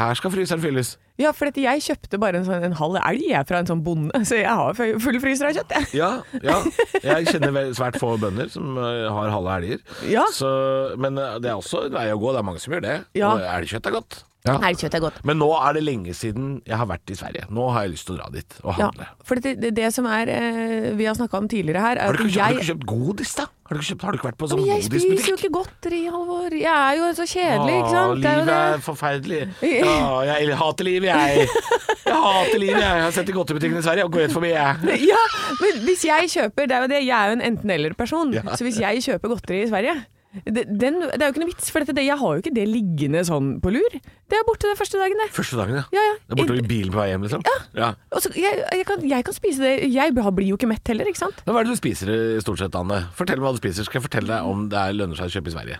Speaker 2: her skal fryseren fylles.
Speaker 3: ja, for dette, jeg kjøpte bare en, sånn, en halv elg jeg, fra en sånn bonde, så jeg har full fryser av kjøtt. Jeg.
Speaker 2: Ja, ja. Jeg kjenner vel svært få bønder som eh, har halve elger.
Speaker 3: Ja.
Speaker 2: Så, men eh, det er også en vei å gå. Det er mange som gjør det.
Speaker 3: Ja.
Speaker 2: Og elgkjøtt er godt. Ja.
Speaker 3: Elgkjøtt er godt.
Speaker 2: Men nå er det lenge siden jeg har vært i Sverige. Nå har jeg lyst til å dra dit og
Speaker 3: Ja,
Speaker 2: handle.
Speaker 3: for det, det, det som er eh, vi har snakka om tidligere her er
Speaker 2: Har, du
Speaker 3: at
Speaker 2: ikke, har du
Speaker 3: jeg,
Speaker 2: ikke kjøpt godis, da? Har du ikke, kjøpt, har du ikke vært på sånn
Speaker 3: Men jeg spiser jo
Speaker 2: godisbutikk?
Speaker 3: ikke godteri, Halvor. Jeg er jo så kjedelig, ikke sant? Det er jo
Speaker 2: livet
Speaker 3: det.
Speaker 2: er forferdelig. Ja, jeg hater livet, jeg. Jeg hater livet, jeg. Jeg har sett det i godtebutikken i Sverige og går rett forbi, jeg.
Speaker 3: Ja, men hvis jeg kjøper Det er jo det, jeg er jo en enten-eller-person. Så hvis jeg kjøper godteri i Sverige det, den, det er jo ikke noe vits, for dette, det, jeg har jo ikke det liggende sånn på lur. Det er borte den første dagen, det.
Speaker 2: Første dagen, ja.
Speaker 3: Ja, ja.
Speaker 2: Det er borte i bilen på vei hjem, liksom. Ja.
Speaker 3: Og så- jeg, jeg, kan, jeg kan spise det. Jeg blir jo ikke mett heller, ikke sant?
Speaker 2: Men Hva er det du spiser i stort sett, Anne? Fortell meg hva du spiser, skal jeg fortelle deg om det er lønner seg å kjøpe i Sverige.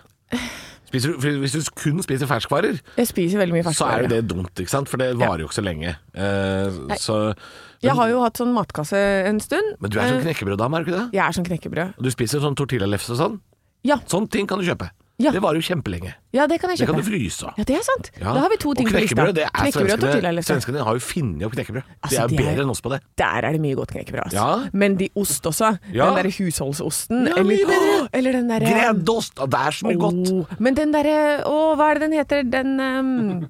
Speaker 2: Spiser du, for hvis du kun spiser ferskvarer,
Speaker 3: Jeg spiser veldig mye
Speaker 2: så er
Speaker 3: ferskvarer.
Speaker 2: jo det dumt, ikke sant? For det varer jo ikke så lenge. Eh, så, men,
Speaker 3: Jeg har jo hatt sånn matkasse en stund.
Speaker 2: men du er sånn
Speaker 3: Eh,
Speaker 2: knekkebrøddame, er du ikke det?
Speaker 3: Jeg er sånn knekkebrød.
Speaker 2: Du spiser sånn tortillalefse og sånn.
Speaker 3: Ja,
Speaker 2: Sånne ting kan du kjøpe.
Speaker 3: Ja.
Speaker 2: Det varer jo kjempelenge.
Speaker 3: ja, det kan jeg
Speaker 2: Det kan du
Speaker 3: kjøpe.
Speaker 2: fryse av.
Speaker 3: Ja, det er sant.
Speaker 2: Ja.
Speaker 3: Da har vi to ting
Speaker 2: og
Speaker 3: på lista.
Speaker 2: knekkebrød, det er
Speaker 3: Knekkebrød og tortilla,
Speaker 2: svenskene.
Speaker 3: liksom.
Speaker 2: Svenskene har jo funnet opp knekkebrød. de
Speaker 3: Altså,
Speaker 2: er jo
Speaker 3: de er-
Speaker 2: bedre enn oss på det.
Speaker 3: Der er det mye godt knekkebrød. Altså.
Speaker 2: Ja.
Speaker 3: Men de ost også.
Speaker 2: Ja.
Speaker 3: Den derre husholdsosten.
Speaker 2: Ja,
Speaker 3: eller,
Speaker 2: mye bedre.
Speaker 3: Åh, eller den derre
Speaker 2: Greddost! ah, Det er så mye godt.
Speaker 3: Åh, men den derre Å, hva er det den heter? Den ehm,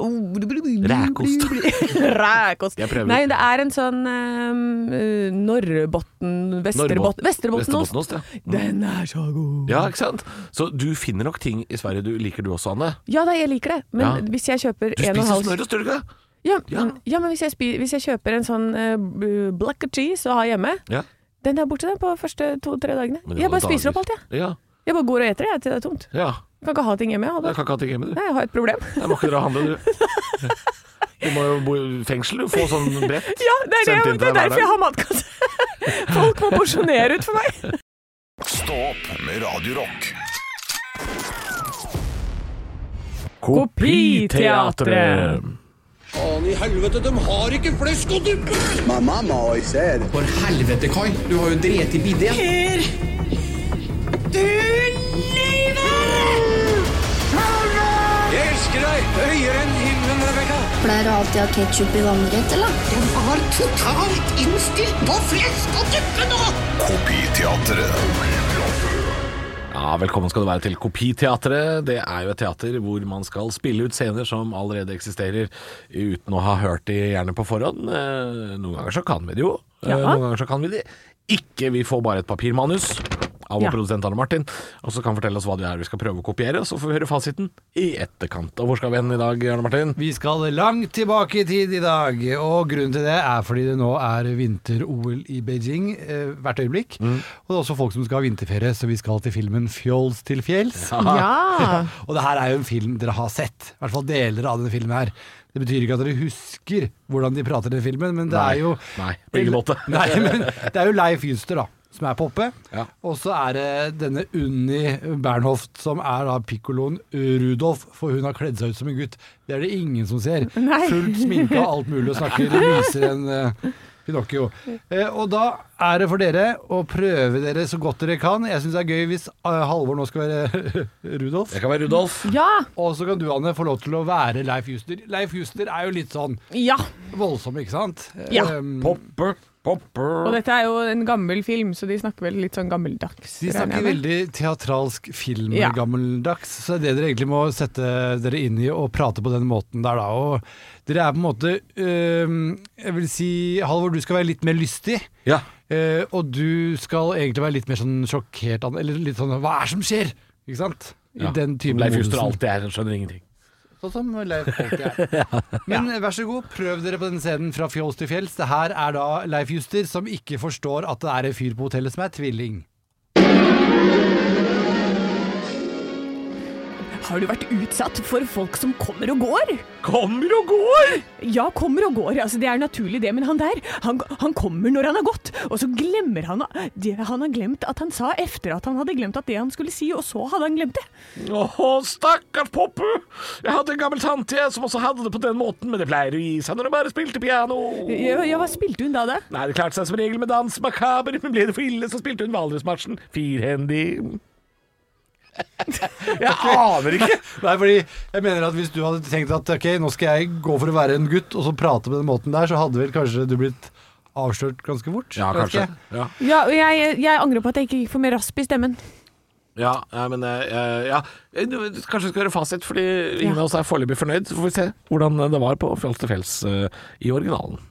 Speaker 3: åh, blu, blu, blu, blu,
Speaker 2: Rækost.
Speaker 3: blu, blu. Rækost.
Speaker 2: Jeg prøver.
Speaker 3: Nei, det er en sånn ehm, eh, Norrbotten Vesterbot,
Speaker 2: Norrbotten-
Speaker 3: Vesterbottenost.
Speaker 2: Vesterbottenost, ja. Mm.
Speaker 3: Den er så god.
Speaker 2: Ja, ikke sant? Så du finner nok ting i Sverige du liker du også, Anne.
Speaker 3: Ja da, jeg liker det. Men
Speaker 2: Ja.
Speaker 3: hvis jeg kjøper
Speaker 2: Du
Speaker 3: en og en
Speaker 2: spiser
Speaker 3: halv
Speaker 2: smørost, gjør du ikke det?
Speaker 3: ja, mm,
Speaker 2: Ja.
Speaker 3: ja, men hvis jeg, spi, hvis jeg kjøper en sånn eh, b- black cheese å ha hjemme,
Speaker 2: Ja.
Speaker 3: den er borte den på første to-tre dagene.
Speaker 2: Men i
Speaker 3: Jeg
Speaker 2: alle
Speaker 3: bare spiser opp alt, jeg.
Speaker 2: dager. Ja.
Speaker 3: Jeg bare går og eter det jeg, til det er tomt.
Speaker 2: ja.
Speaker 3: Jeg kan ikke ha ting hjemme. Jeg,
Speaker 2: Jeg
Speaker 3: Halvor.
Speaker 2: kan ikke ha ting hjemme, du.
Speaker 3: Nei, jeg har et problem.
Speaker 2: Jeg må ikke dra og handle, du. Du må jo bo i fengsel, du. Få sånn brett.
Speaker 3: Ja, det er, det,
Speaker 2: Sendt inn
Speaker 3: jeg-
Speaker 2: til deg
Speaker 3: det er
Speaker 2: hver
Speaker 3: derfor jeg
Speaker 2: dag.
Speaker 3: har matkasse. Folk må porsjonere ut for meg.
Speaker 1: Stå opp med Radio Rock.
Speaker 3: Kopiteatret.
Speaker 7: My mama always said,
Speaker 8: For helvete, Kai. Du har jo drept i bidé.
Speaker 9: Pleier du alltid å ha ketsjup i vannrett, eller?
Speaker 1: Kopiteatret.
Speaker 2: Ja, Velkommen skal du være til Kopiteatret. Det er jo et teater hvor man skal spille ut scener som allerede eksisterer, uten å ha hørt de gjerne på forhånd. Eh, Noen ganger så kan vi det jo. Eh,
Speaker 3: Ja.
Speaker 2: Noen ganger så kan vi det ikke. Vi får bare et papirmanus av vår
Speaker 3: Ja.
Speaker 2: produsent Anne Martin, og så kan han fortelle oss hva det er vi skal prøve å kopiere. og Så får vi høre fasiten i etterkant. Og hvor skal vi hen i dag, Arne Martin?
Speaker 10: Vi skal langt tilbake i tid i dag, og grunnen til det er fordi det nå er vinter-OL i Beijing eh, hvert øyeblikk.
Speaker 8: Mm.
Speaker 10: Og det er også folk som skal ha vinterferie, så vi skal til filmen Fjols til fjells.
Speaker 3: Ja.
Speaker 10: Og det her er jo en film dere har sett, i hvert fall deler av denne filmen her. Det betyr ikke at dere husker hvordan de prater i den filmen, men det
Speaker 2: Nei.
Speaker 10: er jo
Speaker 2: Nei, på ingen måte.
Speaker 10: Nei, men det er jo Leif Juster, da. Som er poppe.
Speaker 2: Ja.
Speaker 10: Og så er det denne Unni Bernhoft, som er da pikkoloen Rudolf, for hun har kledd seg ut som en gutt. Det er det ingen som ser. Fullt sminka, alt mulig, og snakker lysere enn eh, Pinocchio. Eh, og da er det for dere å prøve dere så godt dere kan. Jeg syns det er gøy hvis eh, Halvor nå skal være Rudolf.
Speaker 2: Jeg kan være Rudolf.
Speaker 3: Ja.
Speaker 10: Og så kan du, Anne, få lov til å være Leif Juster. Leif Juster er jo litt sånn
Speaker 3: ja.
Speaker 10: voldsom, ikke sant?
Speaker 3: Ja.
Speaker 10: Um,
Speaker 2: Poppe,
Speaker 3: Og
Speaker 2: poppe.
Speaker 3: dette er jo en gammel film, så de snakker vel litt sånn gammeldags.
Speaker 10: de
Speaker 3: regner jeg
Speaker 10: snakker
Speaker 3: med.
Speaker 10: veldig teatralsk film
Speaker 3: Ja.
Speaker 10: gammeldags, så det er det dere egentlig må sette dere inn i og prate på den måten der, da. Og dere er på en måte um, Jeg vil si, Halvor, du skal være litt mer lystig.
Speaker 2: Ja.
Speaker 10: eh, og du skal egentlig være litt mer sånn sjokkert, Anne, eller litt sånn Hva er det som skjer? Ikke sant? I
Speaker 2: Ja.
Speaker 10: den typen
Speaker 2: Leif Juster
Speaker 10: modusen.
Speaker 2: alltid er, han skjønner ingenting.
Speaker 10: Sånn som Leif alltid er. Men vær så god, prøv dere på den scenen fra fjols til fjells. Det her er da Leif Juster som ikke forstår at det er en fyr på hotellet som er tvilling.
Speaker 3: Har du vært utsatt for folk som kommer og går?
Speaker 2: Kommer og går!
Speaker 3: Ja, kommer og går. Altså, det er naturlig det, men han der, han, han kommer når han har gått. Og så glemmer han det han har glemt at han sa efter at han hadde glemt at det han skulle si, og så hadde han glemt det.
Speaker 2: Åh, stakkars Poppe! Jeg hadde en gammel tante jeg som også hadde det på den måten, men det pleier å gi seg når hun bare spilte piano.
Speaker 3: Ja, ja, hva spilte hun da, da?
Speaker 2: Nei, det klarte seg som regel med dans makaber, men ble det for ille, så spilte hun Valdresmarsjen firhendig. Jeg aner ikke!
Speaker 10: Nei, fordi jeg mener at hvis du hadde tenkt at ok, nå skal jeg gå for å være en gutt, og så prate på den måten der, så hadde vel kanskje du blitt avslørt ganske fort?
Speaker 2: Ja,
Speaker 10: Jeg vet
Speaker 2: kanskje.
Speaker 10: ikke.
Speaker 2: Ja,
Speaker 3: Ja, og jeg, jeg angrer på at jeg ikke gikk for mer rasp i stemmen.
Speaker 2: ja nei, men eh, ja. Eh, du- Kanskje vi skal gjøre fasit, fordi ingen av oss er foreløpig fornøyd. Så får vi se hvordan det var på Fjols til fjells eh, i originalen.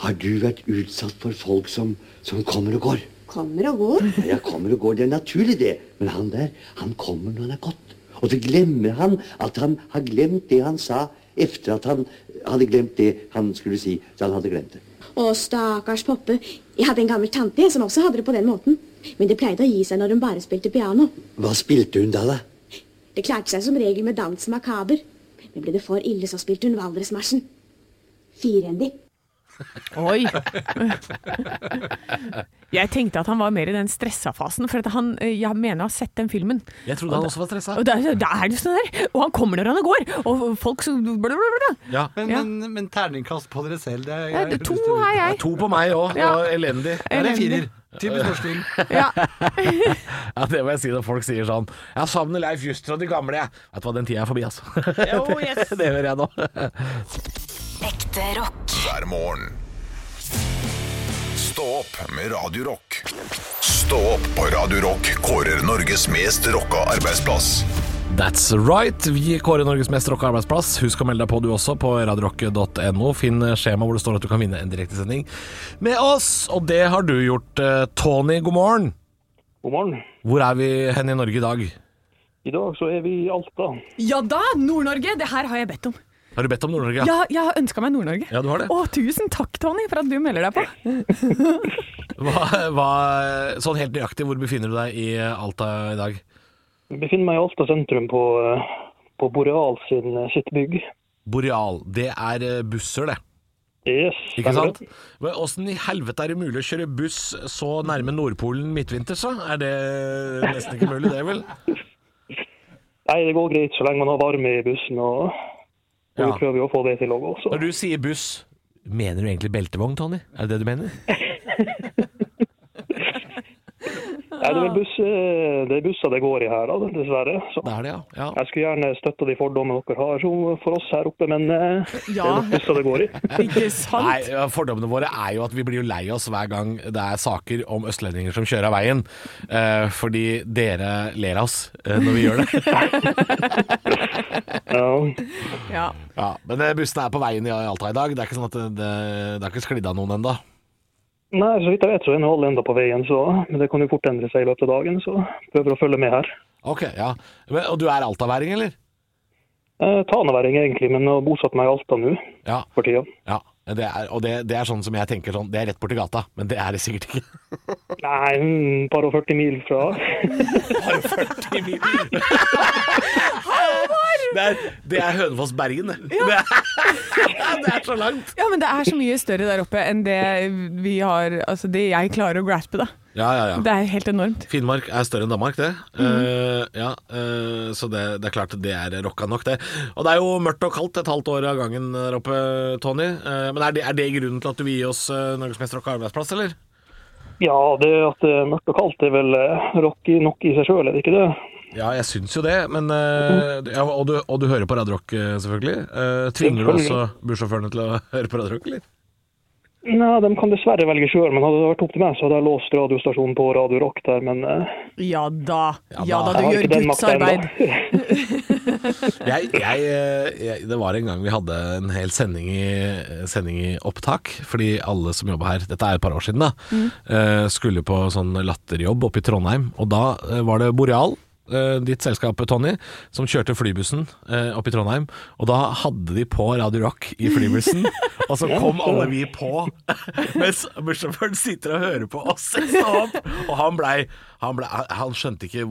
Speaker 8: Har du vært utsatt for folk som, som kommer og går?
Speaker 11: Kommer og går. Ja, kommer og går. Det er naturlig, det. Men han der, han kommer når han er gått. Og så glemmer han at han har glemt det han sa etter at han hadde glemt det han skulle si. Så han hadde glemt det.
Speaker 12: Å, stakkars Poppe. Jeg hadde en gammel tante som også hadde det på den måten. Men det pleide å gi seg når hun bare spilte piano.
Speaker 11: Hva spilte hun da, da?
Speaker 12: Det klarte seg som regel med dansen makaber. Men ble det for ille, så spilte hun Valdresmarsjen. Firendig.
Speaker 3: Oi. Jeg tenkte at han var mer i den stressa fasen, for at han, eh, jeg mener å ha sett den filmen.
Speaker 2: Jeg trodde
Speaker 3: Og
Speaker 2: han
Speaker 3: da-
Speaker 2: også var stressa.
Speaker 3: Og da, da er det jo sånn der. Og han kommer når han går, og folk som blablabla.
Speaker 2: Ja.
Speaker 10: Men,
Speaker 3: Ja.
Speaker 10: men, men terningkast på dere selv, det er
Speaker 3: Ja, det er to har
Speaker 2: Det
Speaker 3: jeg.
Speaker 2: er to på meg òg,
Speaker 3: Ja.
Speaker 2: og elendig.
Speaker 10: Det er en
Speaker 3: Elendig.
Speaker 10: firer. Typisk norsk film.
Speaker 3: Ja.
Speaker 2: Ja, Det må jeg si når folk sier sånn Jeg savner Leif Juster og de gamle, jeg. Vet du hva, den tida er forbi, altså.
Speaker 4: Oh, yes.
Speaker 2: det hører jeg nå.
Speaker 4: Ekte rock.
Speaker 1: hver morgen. Stå opp med Radio Rock. Stå opp på Radio Rock kårer Norges mest rocka arbeidsplass.
Speaker 2: That's right. Vi kårer Norges mest rocka arbeidsplass. Husk å melde deg på du også på radiorock.no. Finn skjema hvor det står at du kan vinne en direktesending med oss. Og det har du gjort, eh, Tony. God morgen.
Speaker 13: God morgen.
Speaker 2: Hvor er vi hen i Norge i dag?
Speaker 13: I dag så er vi i Alta.
Speaker 3: Ja da, Nord-Norge! Det her har jeg bedt om.
Speaker 2: Har du bedt om Nord-Norge?
Speaker 3: Ja, jeg har ønska meg Nord-Norge.
Speaker 2: Ja, du har det.
Speaker 3: Å, tusen takk, Tony, for at du melder deg på.
Speaker 2: Hva, hva, sånn helt nøyaktig, hvor befinner du deg i Alta i dag?
Speaker 13: Jeg befinner meg i Alta sentrum på, eh, på Boreal sin, eh, sitt bygg.
Speaker 2: Boreal, det er eh, busser, det.
Speaker 13: Yes,
Speaker 2: Ikke
Speaker 13: stemmer
Speaker 2: sant? Men Åssen i helvete er det mulig å kjøre buss så nærme Nordpolen midtvinters, da? Er det nesten ikke mulig, det vel?
Speaker 13: Nei, det går greit så lenge man har varme i bussen, og, og
Speaker 2: Ja.
Speaker 13: vi prøver jo å få det til også.
Speaker 2: Når du sier buss, mener du egentlig beltevogn, Tony? Er det det du mener?
Speaker 13: Nei, det er vel buss, eh, det er busser det går i her, da, dessverre. Så.
Speaker 2: Det er det, ja.
Speaker 13: Jeg skulle gjerne støtta de fordommene dere har som- for oss her oppe, men eh, det er nok busser det går i.
Speaker 3: Ikke sant?
Speaker 2: Nei, ja, Fordommene våre er jo at vi blir jo lei oss hver gang det er saker om østlendinger som kjører av veien. eh, fordi dere ler av oss eh, når vi gjør det.
Speaker 3: Ja.
Speaker 2: ja, men eh, bussene er på veien i Alta i dag. Det er ikke sånn at det, det, det er ikke sklidd av noen ennå.
Speaker 13: Nei, så vidt jeg vet så er den ennå på veien, så, men det kan jo fort endre seg i løpet av dagen, så prøver å følge med her.
Speaker 2: Ok, ja. Men, og du er altaværing, eller?
Speaker 13: Eh, Taneværing egentlig, men har bosatt meg i Alta nå
Speaker 2: Ja.
Speaker 13: for tida.
Speaker 2: ja. Det er, og det, det er sånn som jeg tenker sånn, det er rett borti gata, men det er det sikkert ikke.
Speaker 13: Nei, mm, par og 40 mil fra.
Speaker 2: Det er, det er Hønefoss-Bergen, det. Det er- det er så langt.
Speaker 3: Ja, men det er så mye større der oppe enn det vi har Altså det jeg klarer å graspe, da.
Speaker 2: Ja, ja, ja.
Speaker 3: Det er helt enormt.
Speaker 2: Finnmark er større enn Danmark, det. Eh, ja, eh, så det, det er klart det er rocka nok, det. Og det er jo mørkt og kaldt et halvt år av gangen der oppe, Tony. Eh, men er det, er det grunnen til at du vil gi oss uh, Norges mest rocka arbeidsplass, eller?
Speaker 13: Ja, det at det er mørkt og kaldt er vel eh, rocky nok i seg sjøl, er det ikke det?
Speaker 2: Ja, jeg syns jo det, men eh, ja, og, du, og du hører på Radio Rock, eh, selvfølgelig. Eh, tvinger du også bussjåførene til å høre på Radio Rock, eller?
Speaker 13: Nei, de kan dessverre velge sjøl, men hadde det vært opp til meg, så hadde jeg låst radiostasjonen på Radio Rock der, men eh,
Speaker 3: Ja da. Ja da,
Speaker 13: jeg
Speaker 3: du
Speaker 13: har
Speaker 3: gjør
Speaker 13: ikke den
Speaker 3: Guds
Speaker 13: makta ennå.
Speaker 3: arbeid.
Speaker 2: jeg, jeg, eh, jeg, det var en gang vi hadde en hel sending i, sending i opptak, fordi alle som jobba her, dette er et par år siden, da, eh, skulle på sånn latterjobb oppe i Trondheim. Og da eh, var det Boreal, eh, ditt selskap, Tony, som kjørte flybussen eh, opp i Trondheim. Og da hadde de på Radio Rock i flybussen, og så kom alle vi på, mens bussjåføren sitter og hører på oss stå opp. Og han blei han, ble, han skjønte ikke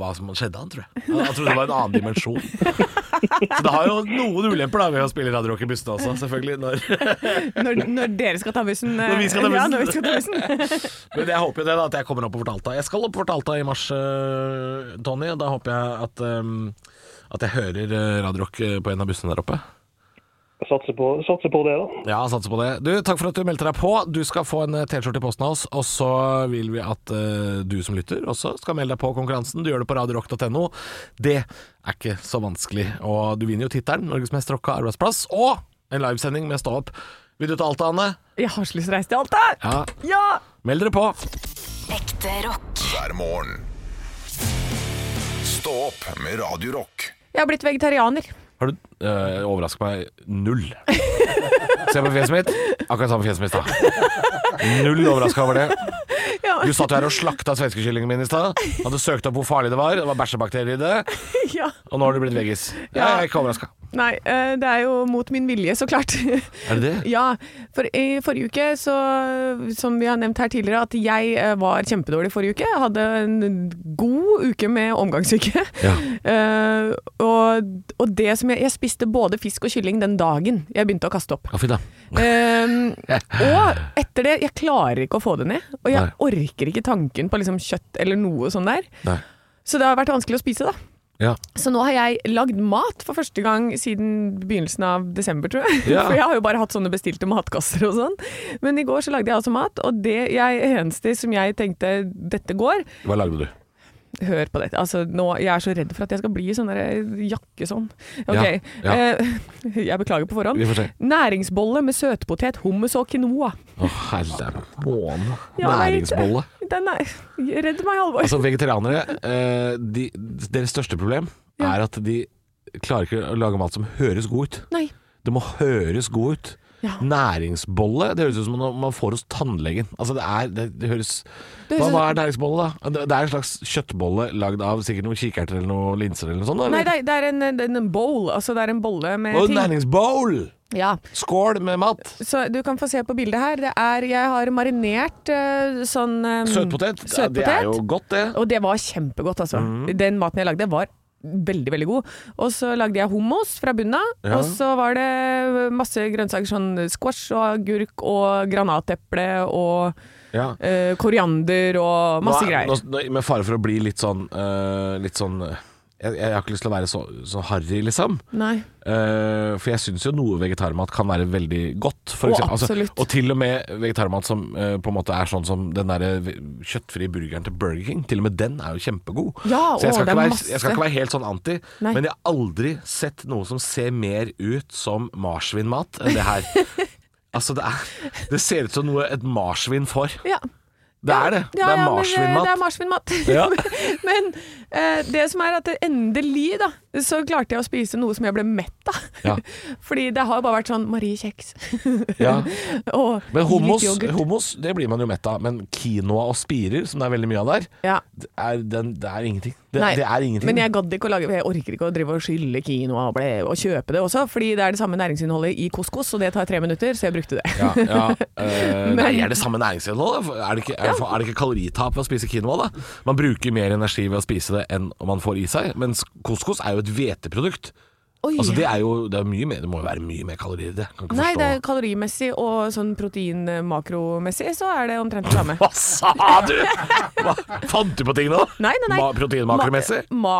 Speaker 2: hva som skjedde, han, tror jeg. Han, han trodde det var en annen dimensjon. Så det har jo noen ulemper da ved å spille Radio Rock i bussene også, selvfølgelig. Når.
Speaker 3: Når, når dere skal ta bussen. eh,
Speaker 2: Når vi skal ta
Speaker 3: Ja,
Speaker 2: bussen.
Speaker 3: når vi skal ta bussen.
Speaker 2: Men jeg håper jo det, da, at jeg kommer oppover til Alta. Jeg skal oppover til Alta i mars, eh, Tony, og da håper jeg at, ehm, at jeg hører eh, Radio Rock eh, på en av bussene der oppe.
Speaker 13: jeg satser på, satser på det, da.
Speaker 2: Ja, satser på det. Du, takk for at du meldte deg på. Du skal få en eh, T-skjorte i posten av oss, og så vil vi at eh, du som lytter også skal melde deg på konkurransen. Du gjør det på radiorock.no. Det er ikke så vanskelig. Og du vinner jo tittelen Norges mest rocka arbeidsplass, og en livesending med Stå opp. Vil du til Alta, Anne?
Speaker 3: Jeg har så lyst til å reise til Alta!
Speaker 2: Ja.
Speaker 3: Ja!
Speaker 2: Meld dere på.
Speaker 4: Ekte rock.
Speaker 1: hver morgen. Stå opp med Radio Rock.
Speaker 3: Jeg har blitt vegetarianer.
Speaker 2: Har du eh, overrasket meg null. Se på fjeset mitt. Akkurat samme fjeset mitt, da. Null overraska over det.
Speaker 3: Ja, Ja.
Speaker 2: Du satt jo her og slakta svenskekyllingen min i stad. Hadde søkt opp hvor farlig det var. Det var bæsjebakterier i det.
Speaker 3: ja.
Speaker 2: Og nå har du blitt veggis. Jeg er ikke overraska.
Speaker 3: Nei, eh, det er jo mot min vilje, så klart.
Speaker 2: Er det det?
Speaker 3: Ja, for i forrige uke, så, som vi har nevnt her tidligere, at jeg eh, var kjempedårlig forrige uke. Jeg hadde en god uke med omgangssyke.
Speaker 2: Ja.
Speaker 3: Eh, og, og det som jeg, jeg spiste både fisk og kylling den dagen jeg begynte å kaste opp.
Speaker 2: Ja, fy da.
Speaker 3: Ehm, og etter det, jeg klarer ikke å få det ned. Og jeg orker ikke tanken på liksom kjøtt eller noe sånt der.
Speaker 2: Nei.
Speaker 3: Så det har vært vanskelig å spise, da.
Speaker 2: Ja.
Speaker 3: Så nå har jeg lagd mat for første gang siden begynnelsen av desember, tror jeg.
Speaker 2: Ja.
Speaker 3: For jeg har jo bare hatt sånne bestilte matkasser og sånn. Men i går så lagde jeg altså mat, og det jeg, eneste som jeg tenkte dette går
Speaker 2: Hva lagde du?
Speaker 3: Hør på dette. Altså, nå, jeg er så redd for at jeg skal bli sånn der jakkesånn.
Speaker 2: Ja,
Speaker 3: Ok.
Speaker 2: ja.
Speaker 3: Eh, jeg beklager på forhånd.
Speaker 2: Vi får se.
Speaker 3: Næringsbolle med søtpotet, hummus og quinoa.
Speaker 2: Å, herre måne.
Speaker 3: Ja, jeg vet det.
Speaker 2: Næringsbolle.
Speaker 3: Den er Redd meg, Halvor.
Speaker 2: Altså, vegetarianere, eh, de, deres største problem er at de klarer ikke å lage mat som høres god ut.
Speaker 3: Nei.
Speaker 2: Det må høres god ut. Næringsbolle, det høres ut som om man får hos tannlegen. Altså, det er Det, det høres
Speaker 3: Det
Speaker 2: hva,
Speaker 3: høres-
Speaker 2: hva er næringsbolle, da? Det, det er en slags kjøttbolle lagd av sikkert noen kikerter eller noen linser eller noe sånt? da,
Speaker 3: Nei,
Speaker 2: Eller?
Speaker 3: det er, det er en, det er en bowl. Altså, det er en bolle med
Speaker 2: Og
Speaker 3: ting.
Speaker 2: næringsbowl!
Speaker 3: Ja.
Speaker 2: Skål med mat!
Speaker 3: Så du kan få se på bildet her. Det er, jeg har marinert eh, sånn eh,
Speaker 2: Søtpotet. Ja, det er jo godt, det.
Speaker 3: Og det var kjempegodt, altså.
Speaker 2: Mhm.
Speaker 3: Den maten jeg lagde, var veldig, veldig god. Og så lagde jeg hummus fra bunnen av.
Speaker 2: Ja.
Speaker 3: Og så var det masse grønnsaker, sånn squash og agurk og granateple og
Speaker 2: Ja.
Speaker 3: eh, koriander og masse
Speaker 2: Nå er-
Speaker 3: greier.
Speaker 2: Nå, nå, med fare for å bli litt sånn eh, Litt sånn eh, jeg, jeg har ikke lyst til å være så, så harry, liksom.
Speaker 3: Nei.
Speaker 2: Eh, for jeg syns jo noe vegetarmat kan være veldig godt. For
Speaker 3: Å,
Speaker 2: eksempel. Altså,
Speaker 3: absolutt.
Speaker 2: og til og med vegetarmat som eh, på en måte er sånn som den derre ve- kjøttfrie burgeren til Burger King. Til og med den er jo kjempegod.
Speaker 3: Ja,
Speaker 2: så jeg skal,
Speaker 3: å, det er
Speaker 2: ikke være,
Speaker 3: masse.
Speaker 2: jeg skal ikke være helt sånn anti.
Speaker 3: Nei.
Speaker 2: Men jeg har aldri sett noe som ser mer ut som marsvinmat enn det her. altså, det, er, det ser ut som noe et marsvin får.
Speaker 3: Ja.
Speaker 2: Det er det.
Speaker 3: Ja,
Speaker 2: det er
Speaker 3: ja, men, eh,
Speaker 2: marsvinmat.
Speaker 3: Det er marsvinmat.
Speaker 2: Ja.
Speaker 3: men eh, det som er at det endelig, da, så klarte jeg å spise noe som jeg ble mett av.
Speaker 2: Ja.
Speaker 3: Fordi det har jo bare vært sånn Marie Kjeks.
Speaker 2: Ja.
Speaker 3: og
Speaker 2: Men hummus,
Speaker 3: litt yoghurt.
Speaker 2: hummus, det blir man jo mett av. Men quinoa og spirer, som det er veldig mye av der,
Speaker 3: Ja.
Speaker 2: det, er, den, det er ingenting. Det,
Speaker 3: Nei,
Speaker 2: det er ingenting.
Speaker 3: Men jeg gadd ikke å lage Jeg orker ikke å drive og skylle quinoa og, ble- og kjøpe det også, fordi det er det samme næringsinnholdet i couscous, og det tar tre minutter, så jeg brukte det.
Speaker 2: ja, ja. eh,
Speaker 3: Men-
Speaker 2: nei, er det samme næringsinnhold? da? Er, det ikke- er, det- er det ikke kaloritap ved å spise quinoa? da? Man bruker mer energi ved å spise det enn man får i seg. Mens couscous er jo et hveteprodukt.
Speaker 3: Oi.
Speaker 2: Altså, det, er jo, det, er mye mer, det må jo være mye mer kalorier i det. Kan ikke
Speaker 3: Nei,
Speaker 2: forstå.
Speaker 3: det er kalorimessig og sånn protein-makromessig så er det omtrent det samme.
Speaker 2: Hva sa du?! Hva, fant du på ting nå?
Speaker 3: Nei, nei, nei.
Speaker 2: Ma- Proteinmakromessig?
Speaker 3: Ma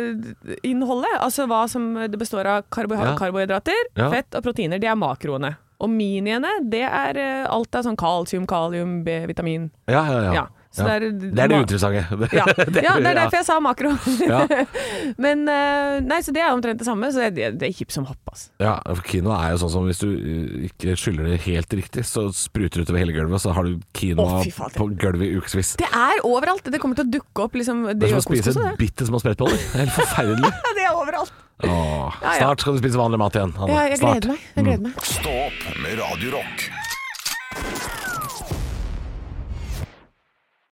Speaker 3: makroinnholdet, altså hva som det består av karbo
Speaker 2: Ja.
Speaker 3: karbohydrater,
Speaker 2: Ja.
Speaker 3: fett og proteiner, det er makroene. Og miniene, det er eh, alt av sånn kalsium, kalium, B-vitamin.
Speaker 2: Ja, ja, ja.
Speaker 3: Ja, så
Speaker 2: Ja.
Speaker 3: det er-
Speaker 2: det er det uinteressante.
Speaker 3: Ja. ja, det
Speaker 2: ja.
Speaker 3: er derfor jeg sa makro.
Speaker 2: Ja.
Speaker 3: Men eh, nei, så det er omtrent det samme, så det, det er hipp som happ, altså.
Speaker 2: Ja, for quinoa er jo sånn som hvis du eh, ikke skyller det helt riktig, så spruter det utover hele gulvet, så har du quinoa
Speaker 3: Å, fy fader.
Speaker 2: på gulvet i ukevis.
Speaker 3: Det er overalt, det kommer til å dukke opp, liksom.
Speaker 2: Det er som å
Speaker 3: gjør
Speaker 2: spise
Speaker 3: couscous også, det.
Speaker 2: bitte små sprettboller. Det er Helt forferdelig.
Speaker 3: Det er overalt.
Speaker 2: Åh,
Speaker 3: Ja, ja.
Speaker 2: snart skal du spise vanlig mat igjen. Hanne.
Speaker 3: Ja, jeg
Speaker 2: Snart.
Speaker 3: gleder meg. Jeg gleder meg.
Speaker 1: Stå opp med Radio Rock.